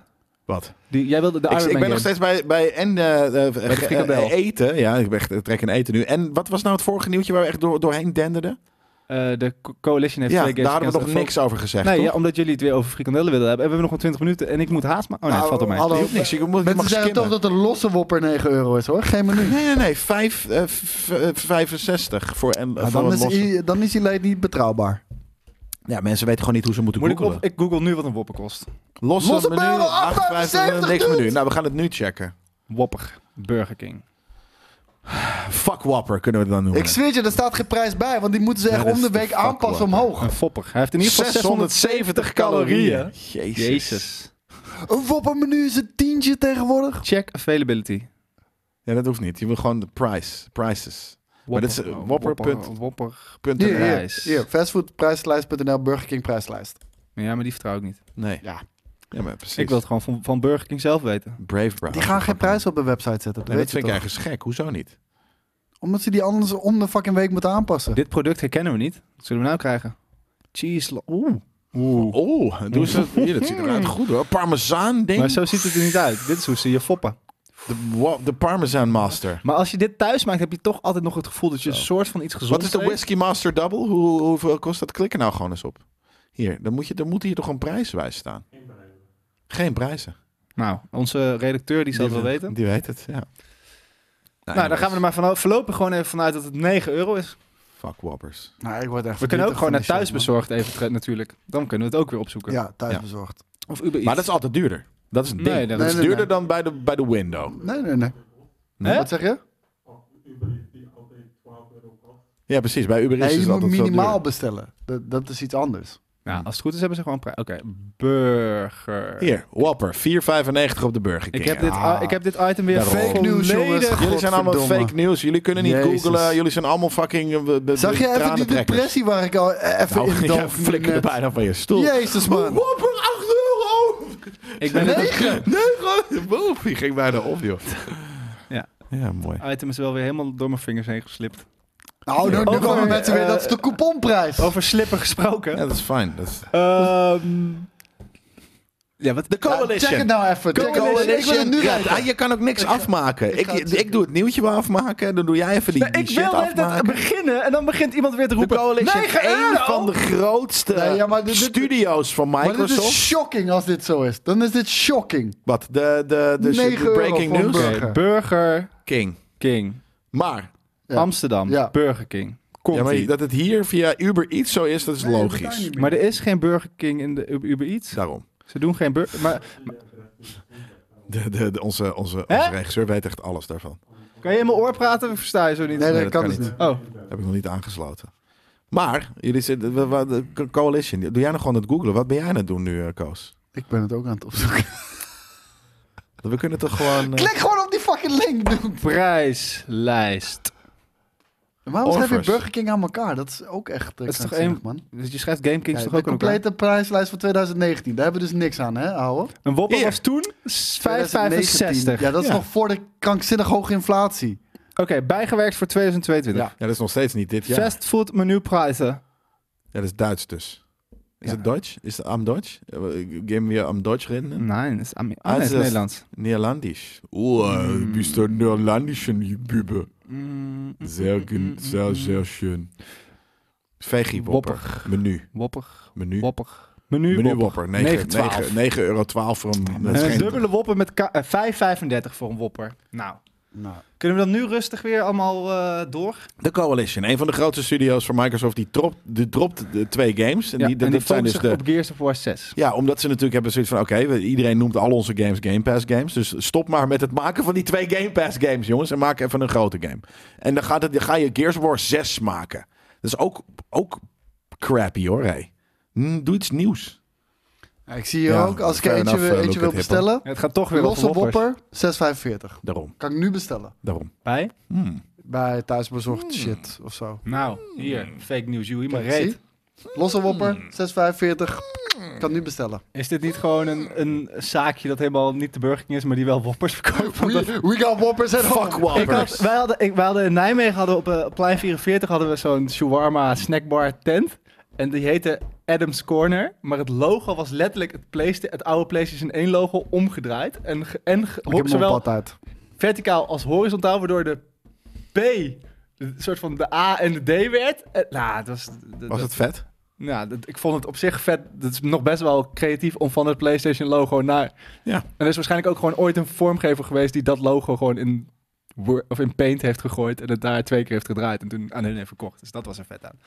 C: Wat?
B: Die, jij wilde de
C: Ik,
B: Iron
C: ik
B: Man
C: ben nog
B: game.
C: steeds bij, bij en eh, eh, eh,
B: frikandel.
C: eten. Ja, ik ben echt eh, trek in eten nu. En wat was nou het vorige nieuwtje waar we echt door, doorheen denderden?
B: Eh, de Co- Coalition heeft
C: Ja,
B: twee games
C: daar hebben we nog
B: gecanceld.
C: niks over gezegd.
B: Nee,
C: toch?
B: ja, omdat jullie het weer over frikandellen willen hebben. En we hebben nog maar 20 minuten en ik moet haast maken. Oh
C: Nou,
B: nee, het valt op mij.
A: Hallo,
C: Je hoeft niks. Je moet, je mag
A: Mensen zeggen
C: skimmen.
A: toch dat een losse wopper 9 euro is hoor. Geen menu.
C: Nee, nee, nee. Vijf, eh, v- eh, 65 voor en
A: Maar
C: voor
A: dan,
C: een
A: is
C: losse.
A: die, dan is die leed niet betrouwbaar.
C: Ja, mensen weten gewoon niet hoe ze moeten
B: Moet ik,
C: googlen.
B: op, ik google nu wat een wopper kost.
C: Losse,
A: Losse
C: menu,
A: barrel,
C: 8,75 niks
A: 8,75
C: menu. Nou, we gaan het nu checken.
B: Wopper. Burger King.
C: Fuck Whopper kunnen we het dan noemen.
A: Ik zweer je, er staat geen prijs bij. Want die moeten ze
C: Ja,
A: echt
C: dat
A: om de
C: is de
A: week
C: fuck
A: aanpassen
C: whopper.
A: omhoog.
B: Een fopper. Hij heeft in ieder geval 670 calorieën.
C: Jezus.
B: Jezus.
A: Een wopper menu is een tientje tegenwoordig.
B: Check availability.
C: Ja, dat hoeft niet. Je wil gewoon de price. Prices. Maar dit is, eh, whopper punt.
B: Whopper.
C: Punt en
A: Hier,
C: rij.
A: hier,
B: prijs.
A: hier. fastfoodprijslijst.nl, Burger King prijslijst.
B: Ja, maar die vertrouw ik niet.
C: Nee.
A: Ja.
C: ja, maar precies.
B: Ik wil het gewoon van, van Burger King zelf weten.
C: Brave Brown.
A: Die gaan geen prijs op hun website zetten. Dat
C: Nee, dat
A: weet je
C: vind
A: toch?
C: ik ergens gek. Hoezo niet?
A: Omdat ze die anders om de fucking week moeten aanpassen.
B: Dit product herkennen we niet. Wat zullen we nou krijgen? Cheese. lo- Oeh. Oeh.
C: Oh, doe ze. Hier, dat ziet eruit goed hoor. Parmezaan ding.
B: Maar zo ziet het er niet uit. Dit is hoe ze je foppen.
C: De, wa- de Parmesan Master.
B: Maar als je dit thuis maakt, heb je toch altijd nog het gevoel dat je een soort van iets gezond
C: Wat is de Whisky Master Double? Hoe, hoeveel kost dat? Klik er nou gewoon eens op. Hier, dan moet, je, dan moet hier toch een prijswijs staan. Geen prijzen.
B: Nou, onze redacteur die zal het wel weten.
C: Die weet het, ja.
B: nou, dan gaan we er maar van, voorlopig gewoon even vanuit dat het 9 euro is.
C: Fuck Whoppers.
A: Nou, ik word echt
B: We kunnen ook gewoon
A: verdrietig
B: naar
A: van die shit, man.
B: thuisbezorgd even tre- natuurlijk. Dan kunnen we het ook weer opzoeken.
A: Ja, thuisbezorgd.
B: Of Uber Eats.
C: Maar dat is altijd duurder. Dat is het ding.
B: Nee,
C: dat
B: nee,
C: is
A: nee,
C: duurder
A: nee.
C: dan bij de, bij de window.
A: Nee, nee, nee.
B: Hè?
A: Wat zeg je?
C: Ja, precies. Bij Uber Eats
A: Nee,
C: is
A: je
C: het
A: moet
C: altijd veel
A: minimaal
C: duurder.
A: bestellen. Dat, dat is iets anders.
B: Nou, als het goed is hebben ze gewoon prijs. Oké, burger.
C: Mhm. Hier, Whopper. 4,95 op de Burger King.
B: Ik heb, dit,
A: Ah.
B: ik heb dit item weer
C: Daarom.
B: fake
C: Fake
A: news,
B: nieuws,
A: jongens.
C: Jullie zijn allemaal
A: Godverdomme.
C: fake news. Jullie kunnen niet
A: Jezus.
C: googlen. Jullie zijn allemaal fucking... eh, de- de-
A: Zag je even die
C: tranentrekkers.
A: depressie waar ik al eh, even
B: (laughs)
A: in
C: (laughs) Nou, jij
A: dook?
C: flikkerde
A: net?
C: bijna van je stoel.
A: Jezus, man.
C: Whopper, 8 euro!
B: Ik ben het
C: Nee, boef. Die ging bijna op, joh.
B: Ja.
C: Ja, mooi.
B: item is wel weer helemaal door mijn vingers heen geslipt.
A: Nou, nu, nu
B: Over,
A: komen mensen weer.
B: eh,
A: Dat is de couponprijs.
B: Over slippen gesproken.
C: Ja, dat is fijn. Dat is...
B: Ehm, ja, wat,
C: De
A: Ja, check het nou even. Check het
C: Coalition. De
A: nou even. Ik wil het
C: Coalition.
A: nu
C: Ja,
A: weten.
C: ah, je kan ook niks afmaken. Ik,
A: ga het
C: ik,
A: checken.
C: doe het nieuwtje wel afmaken. Dan doe jij even die,
B: Nee,
C: die
B: ik
C: shit
B: wil net het
C: afmaken.
B: beginnen en dan begint iemand weer te
C: de
B: roepen.
C: Coalition is
B: 9
C: één
B: euro!
C: van de grootste
A: Nee, ja, maar dit- dit-
C: studio's van
A: Maar dit
C: Microsoft.
A: is shocking als dit zo is. Dan is dit shocking.
C: Wat? De, de, de, de,
A: 9 euro
C: breaking
A: voor een
C: news?
A: burger.
B: Oké, Burger
C: King.
B: King.
C: Maar,
A: Ja.
B: Amsterdam,
A: Ja.
B: Burger King. Komt
C: ja, maar
B: maar,
C: dat het hier via Uber Eats zo is, dat is
A: dat
C: logisch.
A: kan niet meer.
B: maar er is geen Burger King in de Ub- Uber Eats.
C: Daarom.
B: Ze doen geen burger... Maar
C: De, de, de- onze, onze,
B: Hè?
C: onze regisseur weet echt alles daarvan.
B: kan je in mijn oor praten? Ik versta je zo niet.
A: Nee,
C: Nee,
A: dat
C: dat
A: kan
C: kan
A: dus
C: niet.
A: niet.
B: Oh,
C: Heb ik nog niet aangesloten. Maar, jullie zitten, wa- wa- de co- coalition, doe jij nog gewoon het googlen? Wat ben jij aan het doen nu, eh, Koos?
A: Ik ben het ook aan het opzoeken. (laughs)
C: We kunnen toch gewoon... eh,
A: Klik gewoon op die fucking link, dude.
B: prijslijst.
A: Waarom schrijf je
C: Offers.
A: Burger King aan elkaar? Dat is ook echt eh,
B: Dat is toch
A: krankzinnig,
B: één-
A: man.
B: Dus je schrijft Game King
A: Kijk,
B: toch
A: de
B: ook aan elkaar?
A: complete prijslijst van 2019. Daar hebben we dus niks aan, hè, ouwe?
B: Een Whopper
C: Hier.
B: was toen 5,65.
A: 2019. Ja, dat is
C: Ja.
A: nog voor de krankzinnig hoge inflatie.
B: Oké, bijgewerkt voor 2022.
A: Ja.
C: Ja, dat is nog steeds niet dit jaar.
B: Fastfood menuprijzen.
C: Ja, dat is Duits dus. Is het Duits? Eh, Is het am Deutsch? Gehen wir am Deutsch reden?
B: Nee, dat is, Ami- ah, nee, dat is
C: Also,
B: Nederlands.
C: Neerlandisch. Oh, mm. bist du Neerlandischen Bübe? Sehr, gen- sehr, sehr schön. Veggie Whopper. Menu.
B: Whopper,
C: Menu.
B: wopper. Menu,
C: Menu
B: wopper.
C: Whopper.
B: 9,12.
C: 9,12 euro voor (laughs) een... dat is
B: En een
C: geen-
B: dubbele wopper met ka- eh, 5,35 voor een wopper. Nou,
A: Nou,
B: kunnen we dan nu rustig weer allemaal eh, door?
C: De Coalition. Een van de grootste studio's van Microsoft. Die, dropt die dropt de twee games. En
B: Ja,
C: die, dat-
B: en die
C: dat zijn dus
B: focussen
C: de...
B: op Gears of War 6.
C: Ja, omdat ze natuurlijk hebben zoiets van... Oké, we- iedereen noemt al onze games Game Pass games. Dus stop maar met het maken van die twee Game Pass games, jongens. En maak even een grote game. En dan, gaat het, dan ga je Gears of War 6 maken. Dat is ook, ook crappy, hoor. hé. Hm, Doe iets nieuws.
A: ja, ik zie hier
C: Ja,
A: ook, als ik er
C: fair
A: eentje,
C: enough,
A: wil-
C: eh,
A: eentje
C: look
A: wil
C: at hip, hoor.
A: bestellen,
B: Het gaat toch weer
A: losse
B: over woppers.
A: wopper, 6,45.
C: Daarom,
A: Kan ik nu bestellen.
C: daarom.
B: Bij?
A: Bij thuisbezorgd
C: Hmm.
A: shit of zo.
B: Nou, hier, fake news, Joey, maar
A: Kijk,
B: reet.
A: zie. Losse
C: Hmm.
A: wopper, 6,45. Kan nu bestellen.
B: Is dit niet gewoon een, een zaakje dat helemaal niet de Burger King is, maar die wel woppers verkoopt? Want dat-
A: We, we got whoppers at home.
C: Fuck
B: Ik had,
C: Whoppers.
B: wij, hadden, ik, wij hadden in Nijmegen hadden op eh, plein 44 hadden we zo'n shawarma snackbar tent. En die heette Adam's Corner. Maar het logo was letterlijk het, playsta- het oude PlayStation 1 logo omgedraaid. En, ge- en ge-
A: Ik heb mijn
B: zowel
A: pad uit.
B: verticaal als horizontaal, waardoor de P een soort van de A en de D werd. En, nou, het was, dat-
C: Was het vet?
B: nou, dat- ik vond het op zich vet. Het is nog best wel creatief om van het PlayStation logo naar.
C: Ja.
B: En er is waarschijnlijk ook gewoon ooit een vormgever geweest die dat logo gewoon in Word, of in Paint heeft gegooid en het daar twee keer heeft gedraaid en toen aan hun heeft verkocht. Dus dat was er vet aan.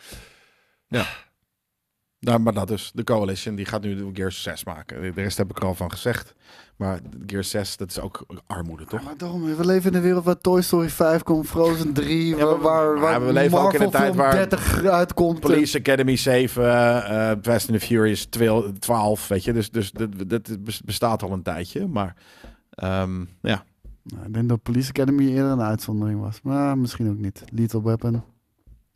C: Nou, maar dat dus. De Coalition die gaat nu Gears 6 maken. De rest heb ik er al van gezegd. Maar Gears 6, dat is ook armoede, toch?
A: Maar daarom, we leven in een wereld waar Toy Story 5 komt, Frozen 3, waar, waar,
C: maar
A: waar
C: we leven ook in een
A: Marvel
C: tijd
A: film
C: waar
A: 30 uitkomt.
C: Police Academy 7, eh, eh, Fast and the Furious 12, 12, weet je. Dus, dus dat, dat bes- bestaat al een tijdje, maar ehm, ja.
A: Nou, ik denk dat Police Academy eerder een uitzondering was. Maar misschien ook niet. Lethal Weapon.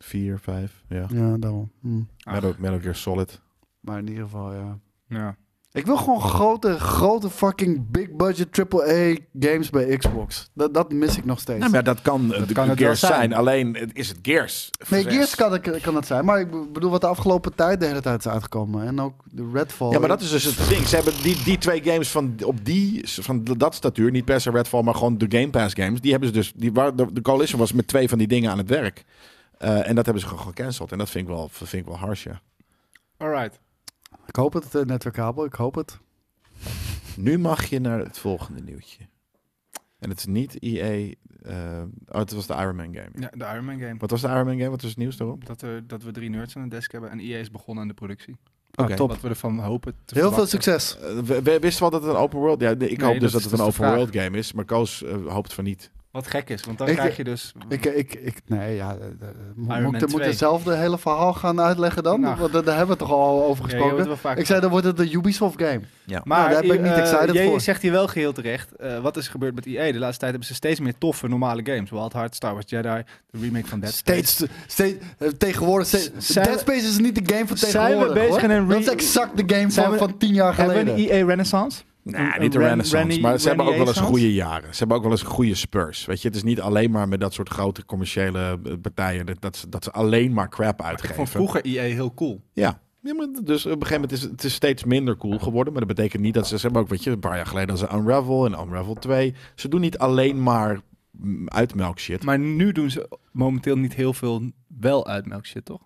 C: 4, 5, ja.
A: Ja, daarom. Hm.
B: Ach.
C: Ah. Metal, Metal Gear Solid.
A: Maar in ieder geval, ja.
B: Ja.
A: Ik wil gewoon grote, grote fucking big budget AAA games bij Xbox. Dat, dat mis ik nog steeds.
C: Nou, maar dat kan, de,
B: kan het wel
C: Gears zijn.
B: zijn.
C: Alleen het- is het Gears.
A: nee,
C: Zes.
A: Gears kan, het- kan dat zijn. Maar ik be- bedoel wat de afgelopen tijd de hele tijd is uitgekomen. En ook de Redfall.
C: Ja, maar dat is dus het ding. Ze hebben die, die twee games van, op die, van dat statuur, niet per se Redfall, maar gewoon de Game Pass games, die hebben ze dus, die, waar, de, de Coalition was met twee van die dingen aan het werk. Eh, en dat hebben ze gewoon gecanceld. En dat vind ik wel, vind ik wel harsh, ja.
B: Alright.
A: Ik hoop het, eh, netwerkkabel. Ik hoop het.
C: Nu mag je naar het volgende nieuwtje. En het is niet EA. eh, oh, het was de Iron Man game.
B: Ja, de Iron Man game.
C: Wat was de Iron Man game? Wat was het nieuws daarop?
B: Dat, er, dat we drie nerds aan de desk hebben en EA is begonnen aan de productie.
A: Ah,
C: Oké.
A: top.
B: Wat we ervan hopen te
A: Heel veel
B: verwachten.
A: succes.
C: Eh, we, we wisten wel dat het een open world. Ja, nee, ik
B: Nee, dat
C: hoop dus dat,
B: is
C: het
B: dus
C: een
B: de
C: open
B: vraag.
C: world game is, maar Koos eh, hoopt van niet.
B: Wat gek is, want dan
A: Ik-
B: krijg je dus...
A: Ik, eh, ik, ik, nee, ja. eh, eh, Moet,
B: Man
A: moet, ik de- moet
B: 2.
A: hetzelfde hele verhaal gaan uitleggen dan?
B: Nou.
A: Want eh, daar daar hebben we toch al over
B: Ja, je hoort
A: gesproken.
B: het wel vaak.
A: ik zei, dan wordt het de Ubisoft game.
B: Maar
A: Nou, daar ben ik niet
B: eh,
A: excited
B: jij
A: voor.
B: zegt hier wel geheel terecht. eh, wat is er gebeurd met EA? De laatste tijd hebben ze steeds meer toffe, normale games. Wild Heart, Star Wars Jedi, de remake van Dead Space.
A: Steeds, steeds eh, tegenwoordig. Steeds,
B: Zijn we-
A: Dead Space is niet de game van
B: Zijn we
A: tegenwoordig.
B: bezig in
A: hoor.
B: een re-
A: Dat is exact de game
B: Zijn
A: van,
B: we-
A: van tien jaar
B: Hebben we
A: geleden.
B: een EA renaissance? Een-
C: Nou, niet de
B: een Ren-
C: renaissance,
B: Rennie-
C: maar ze hebben ook
B: Rennie
C: wel eens
B: Renaissance?
C: goede jaren. Ze hebben ook wel eens goede spurs. Weet je, het is niet alleen maar met dat soort grote commerciële eh, partijen dat, dat, ze, dat ze alleen maar crap
B: Ik vond
C: uitgeven.
B: vroeger EA heel cool.
C: Ja. Ja, maar dus op een gegeven moment is het- het is steeds minder cool geworden. Maar dat betekent niet dat ze... Ze hebben ook, weet je, een paar jaar geleden hadden ze Unravel en Unravel 2. Ze doen niet alleen maar mm, uitmelk shit.
B: Maar nu doen ze momenteel niet heel veel wel uit melkshit, toch?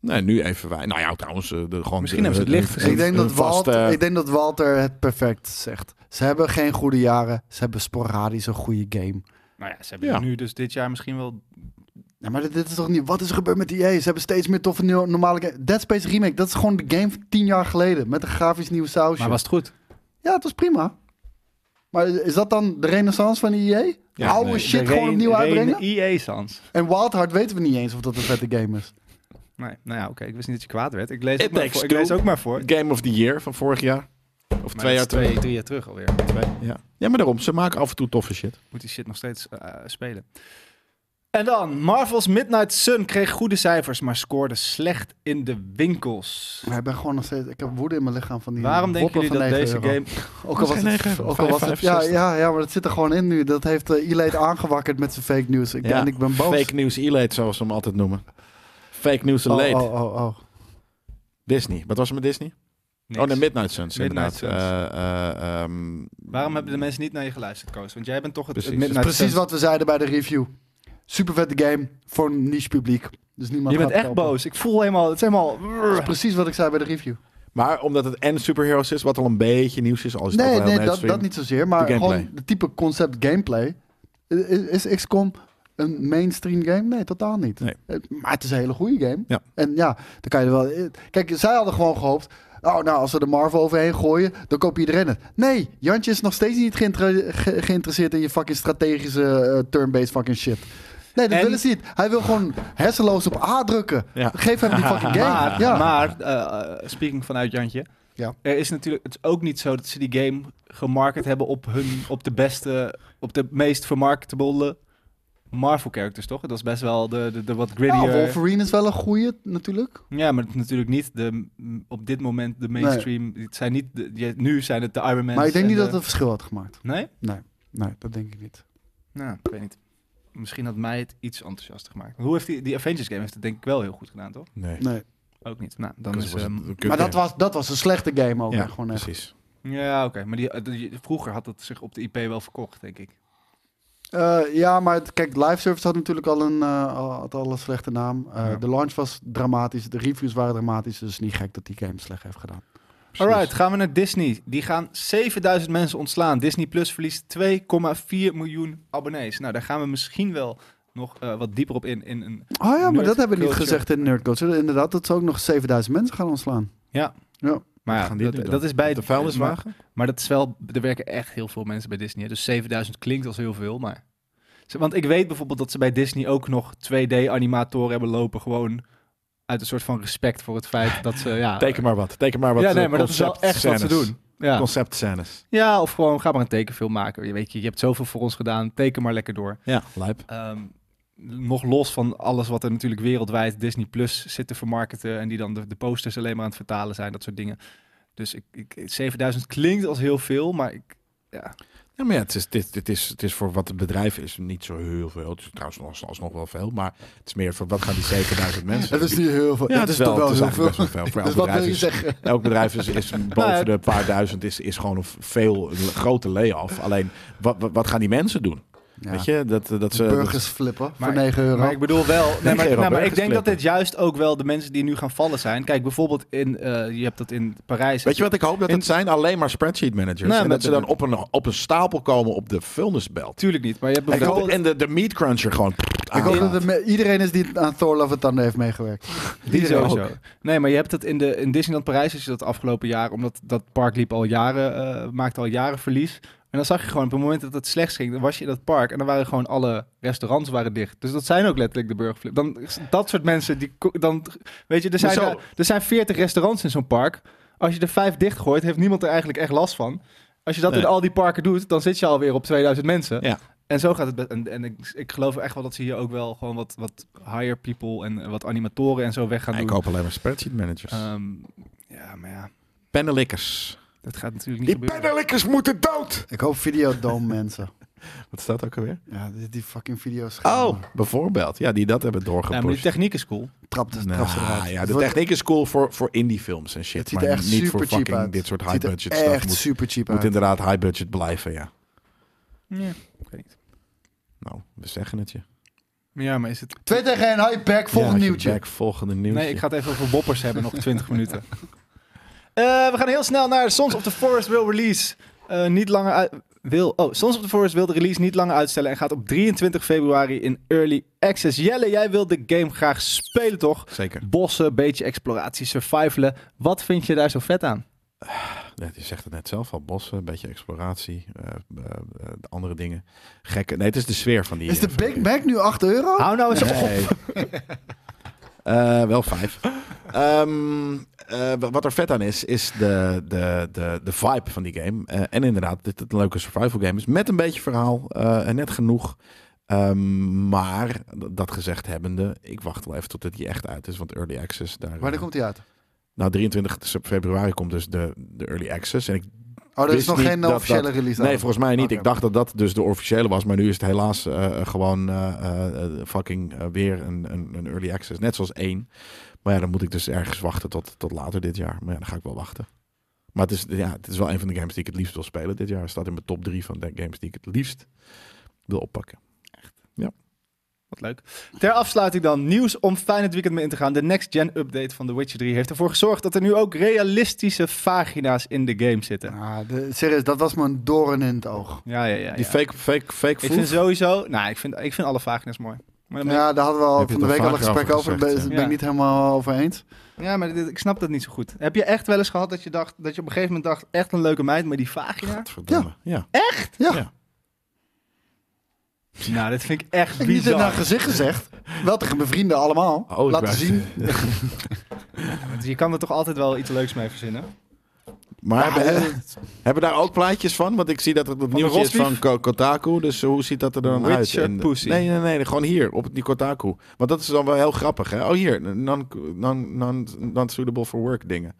C: Nee, nu even wij. Nou ja, trouwens, eh, de, gewoon...
B: Misschien hebben ze het
C: eh,
B: licht
C: een-
B: gezien.
C: een-
A: ik, denk dat
C: een vaste-
A: Walter, ik denk dat Walter het perfect zegt. Ze hebben geen goede jaren. Ze hebben sporadisch een goede game.
B: Nou ja, ze hebben
C: Ja.
B: nu dus dit jaar misschien wel...
A: Ja, maar dit, dit is toch niet... Wat is er gebeurd met EA? Ze hebben steeds meer toffe nieuwe- normale game. Dead Space Remake, dat is gewoon de game van tien jaar geleden. Met een grafisch nieuw sausje.
B: Maar was het goed?
A: Ja, het was prima. Maar is dat dan de renaissance van EA?
C: Ja,
A: Oude
C: nee.
A: shit gewoon opnieuw uitbrengen?
B: EA-sans.
A: En Wild Heart weten we niet eens of dat een vette game is.
B: Nee, nou ja, oké. Ik wist niet dat je kwaad werd. Ik lees,
C: It
B: ook maar,
C: takes
B: voor, ik
C: two.
B: lees ook maar voor.
C: Game of the Year van vorig jaar. Of
B: Maar
C: twee jaar
B: dat is
C: terug.
B: drie jaar terug alweer.
C: Ja. ja, maar daarom. Ze maken af en toe toffe shit.
B: Moet die shit nog steeds eh, spelen. En dan, Marvel's Midnight Sun kreeg goede cijfers, maar scoorde slecht in de winkels.
A: Maar ik ben gewoon nog steeds... Ik heb woede in mijn lichaam van die
B: Waarom denken
A: woppen
B: jullie dat
A: van 9
B: deze
A: euro.
B: game...
A: Ook al was
C: Geen
A: het...
C: negen,
A: Ook al
C: vijf,
A: was het
C: vijf,
A: ja,
C: zes.
A: ja, ja, maar dat zit er gewoon in nu. Dat heeft uh,
C: (laughs)
A: Elite aangewakkerd met zijn fake news. Ik,
C: Ja,
A: En ik ben boos.
C: Fake news elate, zoals ze hem altijd noemen. Fake news
A: oh,
C: elate.
A: oh, oh, oh.
C: Disney. Wat was er met Disney?
B: Niks.
C: Oh, de Midnight Suns,
B: Midnight
C: inderdaad. Eh, eh, ehm,
B: Waarom hebben de mensen niet naar je geluisterd, Koos? Want jij bent toch het, het
C: Precies.
B: Midnight
A: Precies
B: Sun.
A: wat we zeiden bij de review. Super vette game voor een niche publiek. Dus niemand
B: Je bent
A: gaat
B: echt
A: kopen.
B: boos. Ik voel helemaal... Het is helemaal...
A: Dat is precies wat ik zei bij de review.
C: Maar omdat het en superheroes is, wat al een beetje nieuws is, al is het ook
A: Nee,
C: wel heel
A: nee dat,
C: mainstream.
A: dat niet zozeer. Maar
C: De gameplay.
A: gewoon de type concept gameplay. Is, is XCOM een mainstream game? Nee, totaal niet.
C: Nee.
A: Eh, Maar het is een hele goede game.
C: Ja.
A: En ja, dan kan je er wel... eh, Kijk, zij hadden gewoon gehoopt... Oh, nou, als we de Marvel overheen gooien, dan koopt iedereen het. Nee, Jantje is nog steeds niet geïnter- ge- geïnteresseerd in je fucking strategische eh, turn-based fucking shit. Nee, dat
B: En-
A: willen ze niet. Hij wil gewoon hersenloos op A drukken.
C: Ja.
A: Geef hem die
C: (laughs)
A: fucking game.
B: Maar,
A: ja.
B: maar eh, speaking vanuit Jantje...
A: Ja.
B: Er is natuurlijk, het is ook niet zo dat ze die game gemarket hebben op, hun, op de beste, op de meest vermarketabele Marvel-characters, toch? Dat is best wel de, de, de wat
A: Ja,
B: grittier...
A: Wolverine is wel een goeie, natuurlijk.
B: Ja, maar het is natuurlijk niet de, m, op dit moment de mainstream. Het zijn niet de, je- nu zijn het de Iron Man.
A: Maar ik denk niet dat het een verschil had gemaakt.
B: Nee?
A: Nee, dat denk ik niet.
B: Nou, ik weet niet. Misschien had mij het iets enthousiaster gemaakt. Hoe heeft die, die Avengers game heeft het denk ik wel heel goed gedaan, toch?
C: Nee.
A: Nee.
B: Ook niet. Nou, dan
C: Dat
B: is...
C: was het-
B: ehm,
C: een kut
A: Maar dat
C: game.
A: was, dat was een slechte game ook.
C: Ja,
A: hè, gewoon echt.
C: precies.
B: ehm, ja, oké. Maar die, eh, die- vroeger had het zich op de IP wel verkocht, denk ik.
A: Eh, ja, maar het- kijk, live service had natuurlijk al een, eh, al- had al een slechte naam. Eh,
B: Ja.
A: De launch was dramatisch, de reviews waren dramatisch. Dus niet gek dat die game slecht heeft gedaan.
B: Alright, gaan we naar Disney. Die gaan 7000 mensen ontslaan. Disney Plus verliest 2,4 miljoen abonnees. Nou, daar gaan we misschien wel nog eh, wat dieper op in. in een...
A: Oh ja, maar
B: Nerd
A: dat hebben we niet
B: culture.
A: gezegd in Nerd Culture. Inderdaad, dat ze ook nog 7000 mensen gaan ontslaan.
B: Maar ja,
C: gaan die doen
B: dat,
C: dan?
B: dat is bij
C: Op de vuilniswagen?
B: Maar dat is wel, er werken echt heel veel mensen bij Disney. hè. Dus 7000 klinkt als heel veel, maar... Ze- Want ik weet bijvoorbeeld dat ze bij Disney ook nog 2D-animatoren hebben lopen. Gewoon uit een soort van respect voor het feit dat ze... Ja,
C: Teken maar wat. Teken maar wat.
B: ja,
C: eh,
B: nee, maar dat is wel echt wat ze
C: concept-scènes.
B: doen. Ja.
C: Concept scènes.
B: ja, of gewoon ga maar een tekenfilm maken. Je weet, je, je hebt zoveel voor ons gedaan. Teken maar lekker door.
C: Ja, lijp.
B: Ehm, nog los van alles wat er natuurlijk wereldwijd Disney Plus zit te vermarkten. En die dan de, de posters alleen maar aan het vertalen zijn. Dat soort dingen. Dus ik, ik, 7000 klinkt als heel veel, maar ik, ja.
C: Ja, maar ja, het is, dit, dit is, het is voor wat het bedrijf is niet zo heel veel. Het is trouwens nog, alsnog wel veel, maar het is meer voor wat gaan die 7000 mensen.
A: (laughs) Het is niet heel veel.
C: ja, het is,
A: toch
C: wel, het is
A: heel
C: eigenlijk
A: veel.
C: best wel veel. Voor elk
A: Dus wat wil
C: bedrijf
A: je
C: is-
A: zeggen?
C: (laughs) Elk bedrijf is, is
B: Maar-
C: boven de paar duizend, is, is gewoon een veel een grote lay-off. Alleen, wat, wat, wat gaan die mensen doen? Weet je, dat, eh, dat ze...
A: Burgers flippen
B: Maar-
A: voor 9 euro.
B: Maar ik bedoel wel. Nee, maar, nou,
C: euro
B: maar ik
C: burgers
B: denk dat
C: flippen.
B: dit juist ook wel de mensen die nu gaan vallen zijn. Kijk, bijvoorbeeld in. eh, je hebt dat in Parijs.
C: Weet je wat ik hoop? Dat
B: In-
C: het zijn alleen maar spreadsheet managers.
B: Nee,
C: en
B: maar
C: dat ze
B: dat-
C: dan op een, op een stapel komen op de vuilnisbelt.
B: Tuurlijk niet. Maar je hebt
C: Ik hoop,
B: bijvoorbeeld.
C: en de, de meat cruncher gewoon...
A: Ik hoop
C: aangaat.
A: dat er me- iedereen is die aan Thor Love and Thunder heeft meegewerkt.
B: Die
C: Iedereen
B: sowieso. Nee, maar je hebt dat in, de, in Disneyland Parijs is dat afgelopen jaar, omdat dat park liep al jaren, eh, maakte al jaren verlies. En dan zag je gewoon op het moment dat het slecht ging, dan was je in dat park en dan waren gewoon alle restaurants waren dicht. Dus dat zijn ook letterlijk de burgerflip. Dan dat soort mensen die ko- dan weet je, er zijn
C: zo-
B: er, er zijn 40 restaurants in zo'n park. Als je er vijf dicht gooit, heeft niemand er eigenlijk echt last van. Als je dat in
C: Nee.
B: al die parken doet, dan zit je alweer op 2000 mensen.
C: Ja.
B: En zo gaat het. be- En, en ik, ik geloof echt wel dat ze hier ook wel gewoon wat, wat hire people en eh, wat animatoren en zo weg gaan
C: Ja,
B: doen.
C: ik hoop alleen maar spreadsheet managers.
B: Ehm, ja, maar ja,
C: Pennelikkers.
B: dat gaat natuurlijk niet
C: Die
B: gebeuren.
C: pennelikkers moeten dood!
A: Ik hoop Videodome (laughs) mensen.
C: Wat staat ook alweer?
A: Ja, die, die fucking video's.
C: Oh, bijvoorbeeld. Ja, die dat hebben
B: Ja, maar die
C: doorgepusht.
B: techniek is cool.
A: Trap de
C: Nou,
A: trap ze eruit.
C: ja,
A: Het
C: de
A: wordt-
C: techniek is cool voor, voor indie films en shit.
A: Het ziet
C: maar
A: er echt
C: niet
A: super
C: voor
A: cheap
C: fucking
A: uit.
C: dit soort
A: Het ziet
C: high
A: er
C: budget
A: echt
C: stuff. Moet,
A: super cheap
C: moet
A: uit.
C: inderdaad high budget blijven, ja.
B: Ja,
C: Nou, we zeggen het je.
B: ja maar is het...
A: Twee tegen één, high back, volgend
C: Ja,
A: nieuwtje.
C: Jack, volgende nieuwtje.
B: Nee, ik ga het even over boppers hebben, nog 20 minuten.
C: (laughs)
B: Eh, we gaan heel snel naar Sons of the Forest wil release. eh, niet langer uit... Wil, oh, Sons of the Forest wil de release niet langer uitstellen en gaat op 23 februari in Early Access. Jelle, jij wil de game graag spelen, toch?
C: Zeker.
B: Bossen, beetje exploratie, survivalen. Wat vind je daar zo vet aan?
C: Net, je zegt het net zelf al. Bossen, een beetje exploratie, eh, eh, eh, de andere dingen. Gekke. Nee, het is de sfeer van die...
A: Is de
C: eh,
A: Big Mac nu 8 euro?
C: Ah.
B: Hou nou eens op.
C: Nee. (laughs) Eh, wel vijf. Ehm, eh, wa- wat er vet aan is, is de, de, de, de vibe van die game. Eh, en inderdaad, dit het een leuke survival game is. Met een beetje verhaal eh, en net genoeg. Ehm, maar d- dat gezegd hebbende, ik wacht wel even totdat die echt uit is. Want Early Access daar.
A: Waar komt die uit?
C: Nou, 23 februari komt dus de, de Early Access. En ik
A: Oh, er is
C: Wist
A: nog
C: niet
A: geen
C: dat
A: officiële
C: dat-
A: release.
C: Nee,
A: datum.
C: volgens mij niet.
A: Oké.
C: Ik dacht dat dat dus de officiële was. Maar nu is het helaas eh, eh, gewoon eh, eh, eh, fucking eh, weer een, een, een early access. Net zoals één. Maar ja, dan moet ik dus ergens wachten tot, tot later dit jaar. Maar ja, dan ga ik wel wachten. Maar het is, ja, het is wel een van de games die ik het liefst wil spelen dit jaar. Het staat in mijn top drie van de games die ik het liefst wil oppakken.
B: Wat leuk. Ter afsluiting dan nieuws om fijn het weekend mee in te gaan. De next-gen update van The Witcher 3 heeft ervoor gezorgd dat er nu ook realistische vagina's in de game zitten.
A: Ah, de, serieus, dat was me een doorn in het oog.
B: Ja, ja, ja.
C: Die
B: ja.
C: fake, fake, fake
B: ik
C: food.
B: vind sowieso. Nou, ik vind, ik vind alle vagina's mooi. Maar dan ben ik-
A: Ja, daar hadden we al
C: Heb je
A: van de
C: het
A: week
C: al
A: al een
C: vaker
A: gesprek
C: over
A: over. Daar ben
C: gezegd,
B: ja.
A: ben ik niet helemaal over eens.
B: ja, maar dit- ik snap dat niet zo goed. Heb je echt wel eens gehad dat je dacht dat je op een gegeven moment dacht echt een leuke meid, maar die vagina?
C: Godverdomme. Ja.
A: Ja,
C: Ja.
B: (laughs) Nou, dit vind ik echt
A: ik niet in haar
B: bizar.
A: gezicht gezegd. Wel tegen mijn vrienden allemaal.
C: Oh, ik
A: Laten
C: wou- (laughs)
A: zien.
B: Dus je kan er toch altijd wel iets leuks mee verzinnen.
C: Maar
A: Ja,
C: hebben,
A: eh,
C: (laughs) hebben daar ook plaatjes van? Want ik zie dat het
B: de
C: opnieuw is
B: rotwief?
C: van Ko- Kotaku. Dus hoe ziet dat er dan
B: Witcher
C: uit? in de-
B: pussy.
C: Nee, nee, nee. Gewoon hier, op die Kotaku. Want dat is dan wel heel grappig, hè? Oh, hier. Non-suitable non, non, non-suitable for work dingen.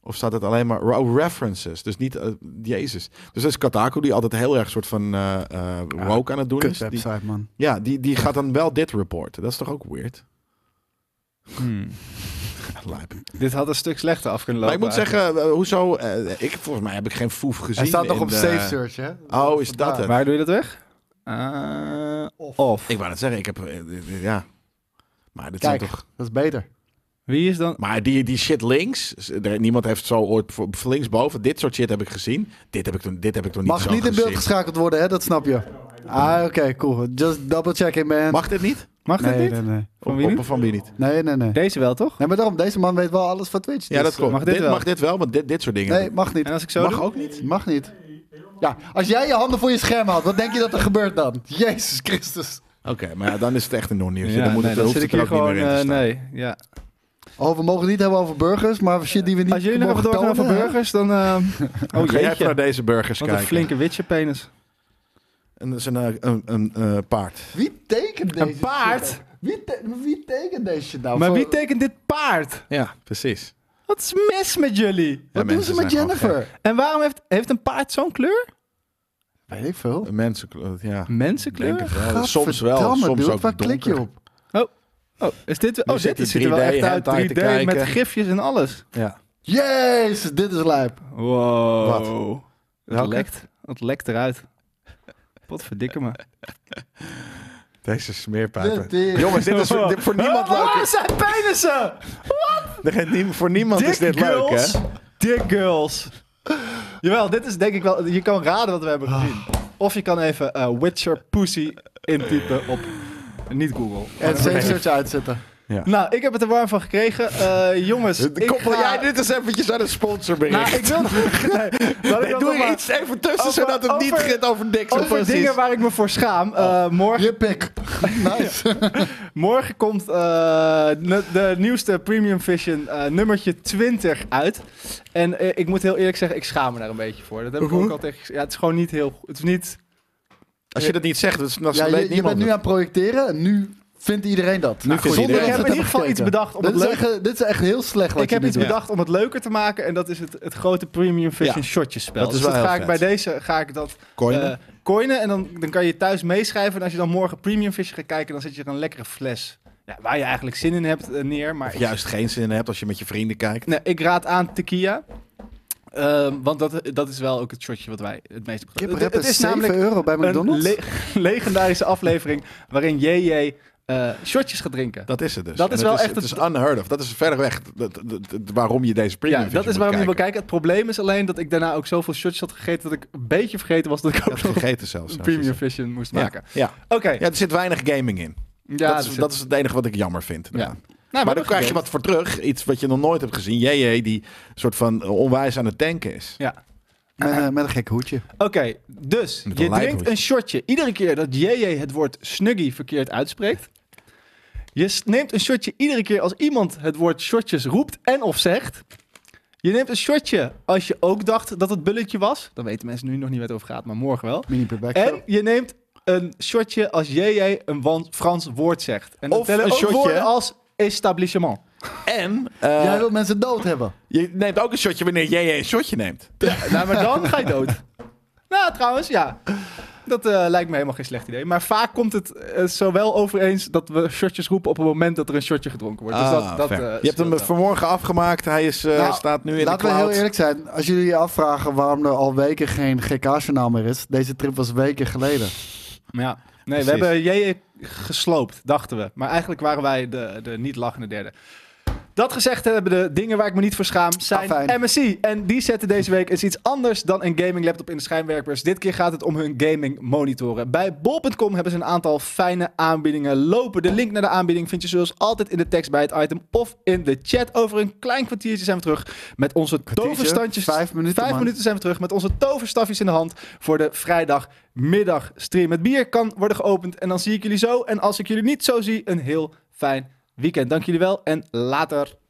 C: Of staat het alleen maar... Oh, references. Dus niet... eh, Jezus. Dus dat is Kotaku die altijd heel erg soort van eh eh, woke aan het doen
A: Kut
C: is. Die,
A: website, man.
C: ja, die, die gaat dan wel dit reporten. Dat is toch ook weird? (laughs) Lijp.
B: Dit had een stuk slechter af kunnen
C: Maar
B: lopen.
C: ik moet
B: eigenlijk.
C: zeggen, eh, hoezo... eh, ik, volgens mij heb ik geen foef gezien.
A: Hij staat nog
C: in
A: op
C: de-
A: Safe Search, hè?
C: Oh, is dat het?
B: Waar doe je dat weg? Eh,
A: Of.
B: of.
C: Ik wou net zeggen, ik heb... eh, eh, eh, Ja. Maar dit
A: Kijk,
C: zijn toch...
A: dat is beter.
B: Wie is dan?
C: Maar die, die shit links, z- er- niemand heeft zo ooit voor- voor linksboven. Dit soort shit heb ik gezien. Dit heb ik toen, dit heb ik toen niet
A: Mag
C: zo
A: niet in beeld
C: gezien.
A: geschakeld worden, hè? Dat snap je. Ah, oké, cool. Just double checking, man.
C: Mag dit niet?
B: Mag dit
A: nee,
B: niet?
A: nee, nee.
B: Van wie niet?
C: Op- van wie niet?
A: Nee, nee, nee.
B: Deze wel, toch?
A: Nee, maar daarom, deze man weet wel alles van Twitch.
C: Ja,
A: dus-
C: dat klopt.
B: mag dit
C: Mag eh, dit,
B: wel?
C: mag dit wel, want dit, dit soort dingen.
A: Nee, mag niet.
B: En als ik zo
A: mag
B: doe?
A: ook niet. Mag niet. Ja, als jij je handen voor je scherm houdt, wat denk je dat er gebeurt dan? (laughs) Jezus Christus.
C: Oké, maar ja, dan is het echt een non-nieuwtje.
B: Ja,
C: dan moet
B: nee,
C: het,
B: dan
C: hoeft
B: zit
C: het
B: ik
C: er
B: hier
C: ook niet
B: gewoon.
C: meer in te
B: eh,
C: staan.
B: nee, ja.
A: Oh, we mogen het niet hebben over burgers, maar shit die we niet
B: Als jullie nog even
A: mogen
B: doorgaan
A: tonen,
B: over
A: hè?
B: burgers, dan. eh
C: (laughs)
B: oh
C: Ga jij even
B: jeetje.
C: naar deze burgers
B: Wat een
C: kijken.
B: flinke witcherpenis.
C: En dat is een, eh, een, een eh, paard.
A: Wie tekent deze shit?
B: paard?
A: Wie, te- wie tekent deze shit nou?
B: Maar
A: Voor-
B: wie tekent dit paard?
C: Ja, precies.
B: Wat is mis met jullie?
A: Wat doen ze
C: mensen
A: met
C: zijn gewoon
A: Jennifer?
B: En waarom heeft, heeft een paard zo'n kleur?
A: Weet ik veel.
C: Mensen, ja.
B: Mensenkleur?
C: Denk het wel. Eh, Soms wel,
A: Gadverdamme,
C: soms
A: dude,
C: ook
A: Waar klik je
C: donker.
A: op?
B: Oh, is dit,
C: Nu
B: oh
C: zit
B: dit
C: hij
B: is- ziet er wel
C: 3D
B: echt uit.
C: hentai te
B: 3D met
C: kijken.
B: gifjes en alles.
C: Ja.
A: Jezus, dit is lijp.
B: Wow.
A: Wat?
B: Het
A: Welke?
B: lekt. Het lekt eruit. Wat verdikke me.
C: Deze
A: Dit
C: smeerpijpen.
A: is-
C: Jongens, dit is voor, dit- voor
B: (laughs)
C: niemand
B: Oh,
C: leuk.
B: waar zijn penissen?
C: Er gaat nie- Voor niemand
B: Dick
C: is dit leuk,
B: girls.
C: hè?
B: Dick girls. Jawel, dit is denk ik wel... Je kan raden wat we hebben gezien.
C: Ah.
B: Of je kan even eh, Witcher pussy intypen op... Niet Google.
A: En safe search uitzetten.
B: Nou, ik heb het er warm van gekregen. Eh, jongens, ik
C: Koppel
B: ga-
C: jij dit eens eventjes aan een sponsorbericht?
B: Nou, ik wil... (laughs) Nee, laat ik dat nog
C: Doe er
B: maar-
C: iets even tussen,
B: Over-
C: zodat het niet
B: over-
C: gaat over niks.
B: Over
C: precies. Oh.
B: dingen waar ik me voor schaam. Eh, morgen,
A: Je
B: (laughs)
A: pik. Nice.
B: morgen komt eh, ne- de nieuwste Premium Vision eh, nummertje 20 uit. En eh, ik moet heel eerlijk zeggen, ik schaam me daar een beetje voor. Dat heb ik ook al tegen... Ja, het is gewoon niet heel... Het is niet...
C: Als je dat niet zegt, dan dan
A: Ja,
C: weet
A: je, je
C: niemand
A: bent nu aan
C: het.
A: het projecteren en nu vindt iedereen dat.
C: Nu vindt
A: zonder
C: iedereen
B: Ik
A: dat ze
C: dat.
B: heb in ieder
A: het
B: geval
A: hebben
B: iets
A: gekeken.
B: bedacht om
A: dit
B: het
A: is
B: leuk-
A: echt- Dit is echt heel slecht wat
B: ik heb
A: je nu
B: iets
A: doet.
B: bedacht om het leuker te maken. En dat is het, het grote Premium Vision
C: Ja.
B: shotjes spel.
C: Dat is
B: dus
C: wel
B: dat ga
C: heel
B: ik bij
C: vet.
B: deze ga ik dat
C: Coinen?
B: eh, coinen. En dan, dan kan je thuis meeschrijven. En als je dan morgen Premium Vision gaat kijken, dan zet je er een lekkere fles. Ja, waar je eigenlijk zin in hebt eh, neer. Maar
C: Of juist geen zin in hebt als je met je vrienden kijkt.
B: Nee, ik raad aan tequila. Ehm, want dat, dat is wel ook het shotje wat wij het meest
A: Kip
B: gebruiken.
A: Rap is 7 euro bij
B: een
A: McDonald's.
B: le- legendarische aflevering waarin JJ eh shotjes gaat drinken.
C: Dat is het dus.
B: Dat
C: En
B: is
C: het
B: wel echt
C: Het is unheard of. Dat is verder weg dat- dat- dat- waarom je deze premium
B: ja,
C: vision
B: dat is
C: moet
B: waarom je wil
C: kijken.
B: kijken. Het probleem is alleen dat ik daarna ook zoveel shotjes had gegeten dat ik een beetje vergeten was dat ik ook
C: Dat
B: nog
C: vergeten zelfs.
B: een
C: ja,
B: premium
C: precies.
B: vision moest
C: Ja,
B: maken.
C: Ja.
B: Oké.
C: ja, er zit weinig gaming in.
B: Ja,
C: dat, is,
B: dus-
C: dat is het enige wat ik jammer vind.
B: ja.
C: eraan.
B: Nou,
C: Maar dan krijg je wat voor terug. Iets wat je nog nooit hebt gezien. JJ die soort van eh, onwijs aan het tanken is.
B: Ja.
A: Met,
B: (laughs)
A: eh, met een gek hoedje.
B: Oké, dus
C: Met
B: je
C: een lijp
B: drinkt
C: hoor.
B: een shotje iedere keer dat JJ het woord snuggie verkeerd uitspreekt. Je s- neemt een shotje iedere keer als iemand het woord shotjes roept en of zegt. Je neemt een shotje als je ook dacht dat het bulletje was. Dan weten mensen nu nog niet waar het over gaat, maar morgen wel.
A: Mini per back.
B: En je neemt een shotje als JJ een wan- Frans woord zegt. En dan
C: Of
B: tellen
C: een
B: ook
C: shotje.
B: woorden als establishment.
C: En eh,
A: Jij wilt mensen dood hebben.
C: je neemt ook een shotje wanneer JJ een shotje neemt.
B: nou, maar dan ga je dood. (laughs) Nou, trouwens, ja. Dat eh, lijkt me helemaal geen slecht idee. Maar vaak komt het eh, zowel overeens dat we shotjes roepen op het moment dat er een shotje gedronken wordt. dus
C: Ah,
B: dat, dat,
C: fair.
B: eh,
C: je hebt
B: scheelt
C: hem
B: wel.
C: vanmorgen afgemaakt. Hij is, eh,
A: Nou,
C: staat nu in de
A: Laten we
C: cloud.
A: heel eerlijk zijn. Als jullie je afvragen waarom er al weken geen GK-journaal meer is. Deze trip was weken geleden.
B: Maar Ja. Nee,
C: Precies.
B: we hebben JJ gesloopt, dachten we. Maar eigenlijk waren wij de, de niet lachende derde. Dat gezegd hebben, de dingen waar ik me niet voor schaam zijn
A: Afijn.
B: MSI. En die zetten deze week eens iets anders dan een gaming laptop in de schijnwerpers. Dit keer gaat het om hun gaming monitoren. Bij bol.com hebben ze een aantal fijne aanbiedingen lopen. De link naar de aanbieding vind je zoals altijd in de tekst bij het item of in de chat. Over een klein kwartiertje zijn we terug met onze toverstandjes.
A: Vijf minuten,
B: Vijf
A: man.
B: minuten zijn we terug met onze toverstafjes in de hand voor de vrijdagmiddagstream. Het bier kan worden geopend en dan zie ik jullie zo. En als ik jullie niet zo zie, een heel fijn weekend. Dank jullie wel en later.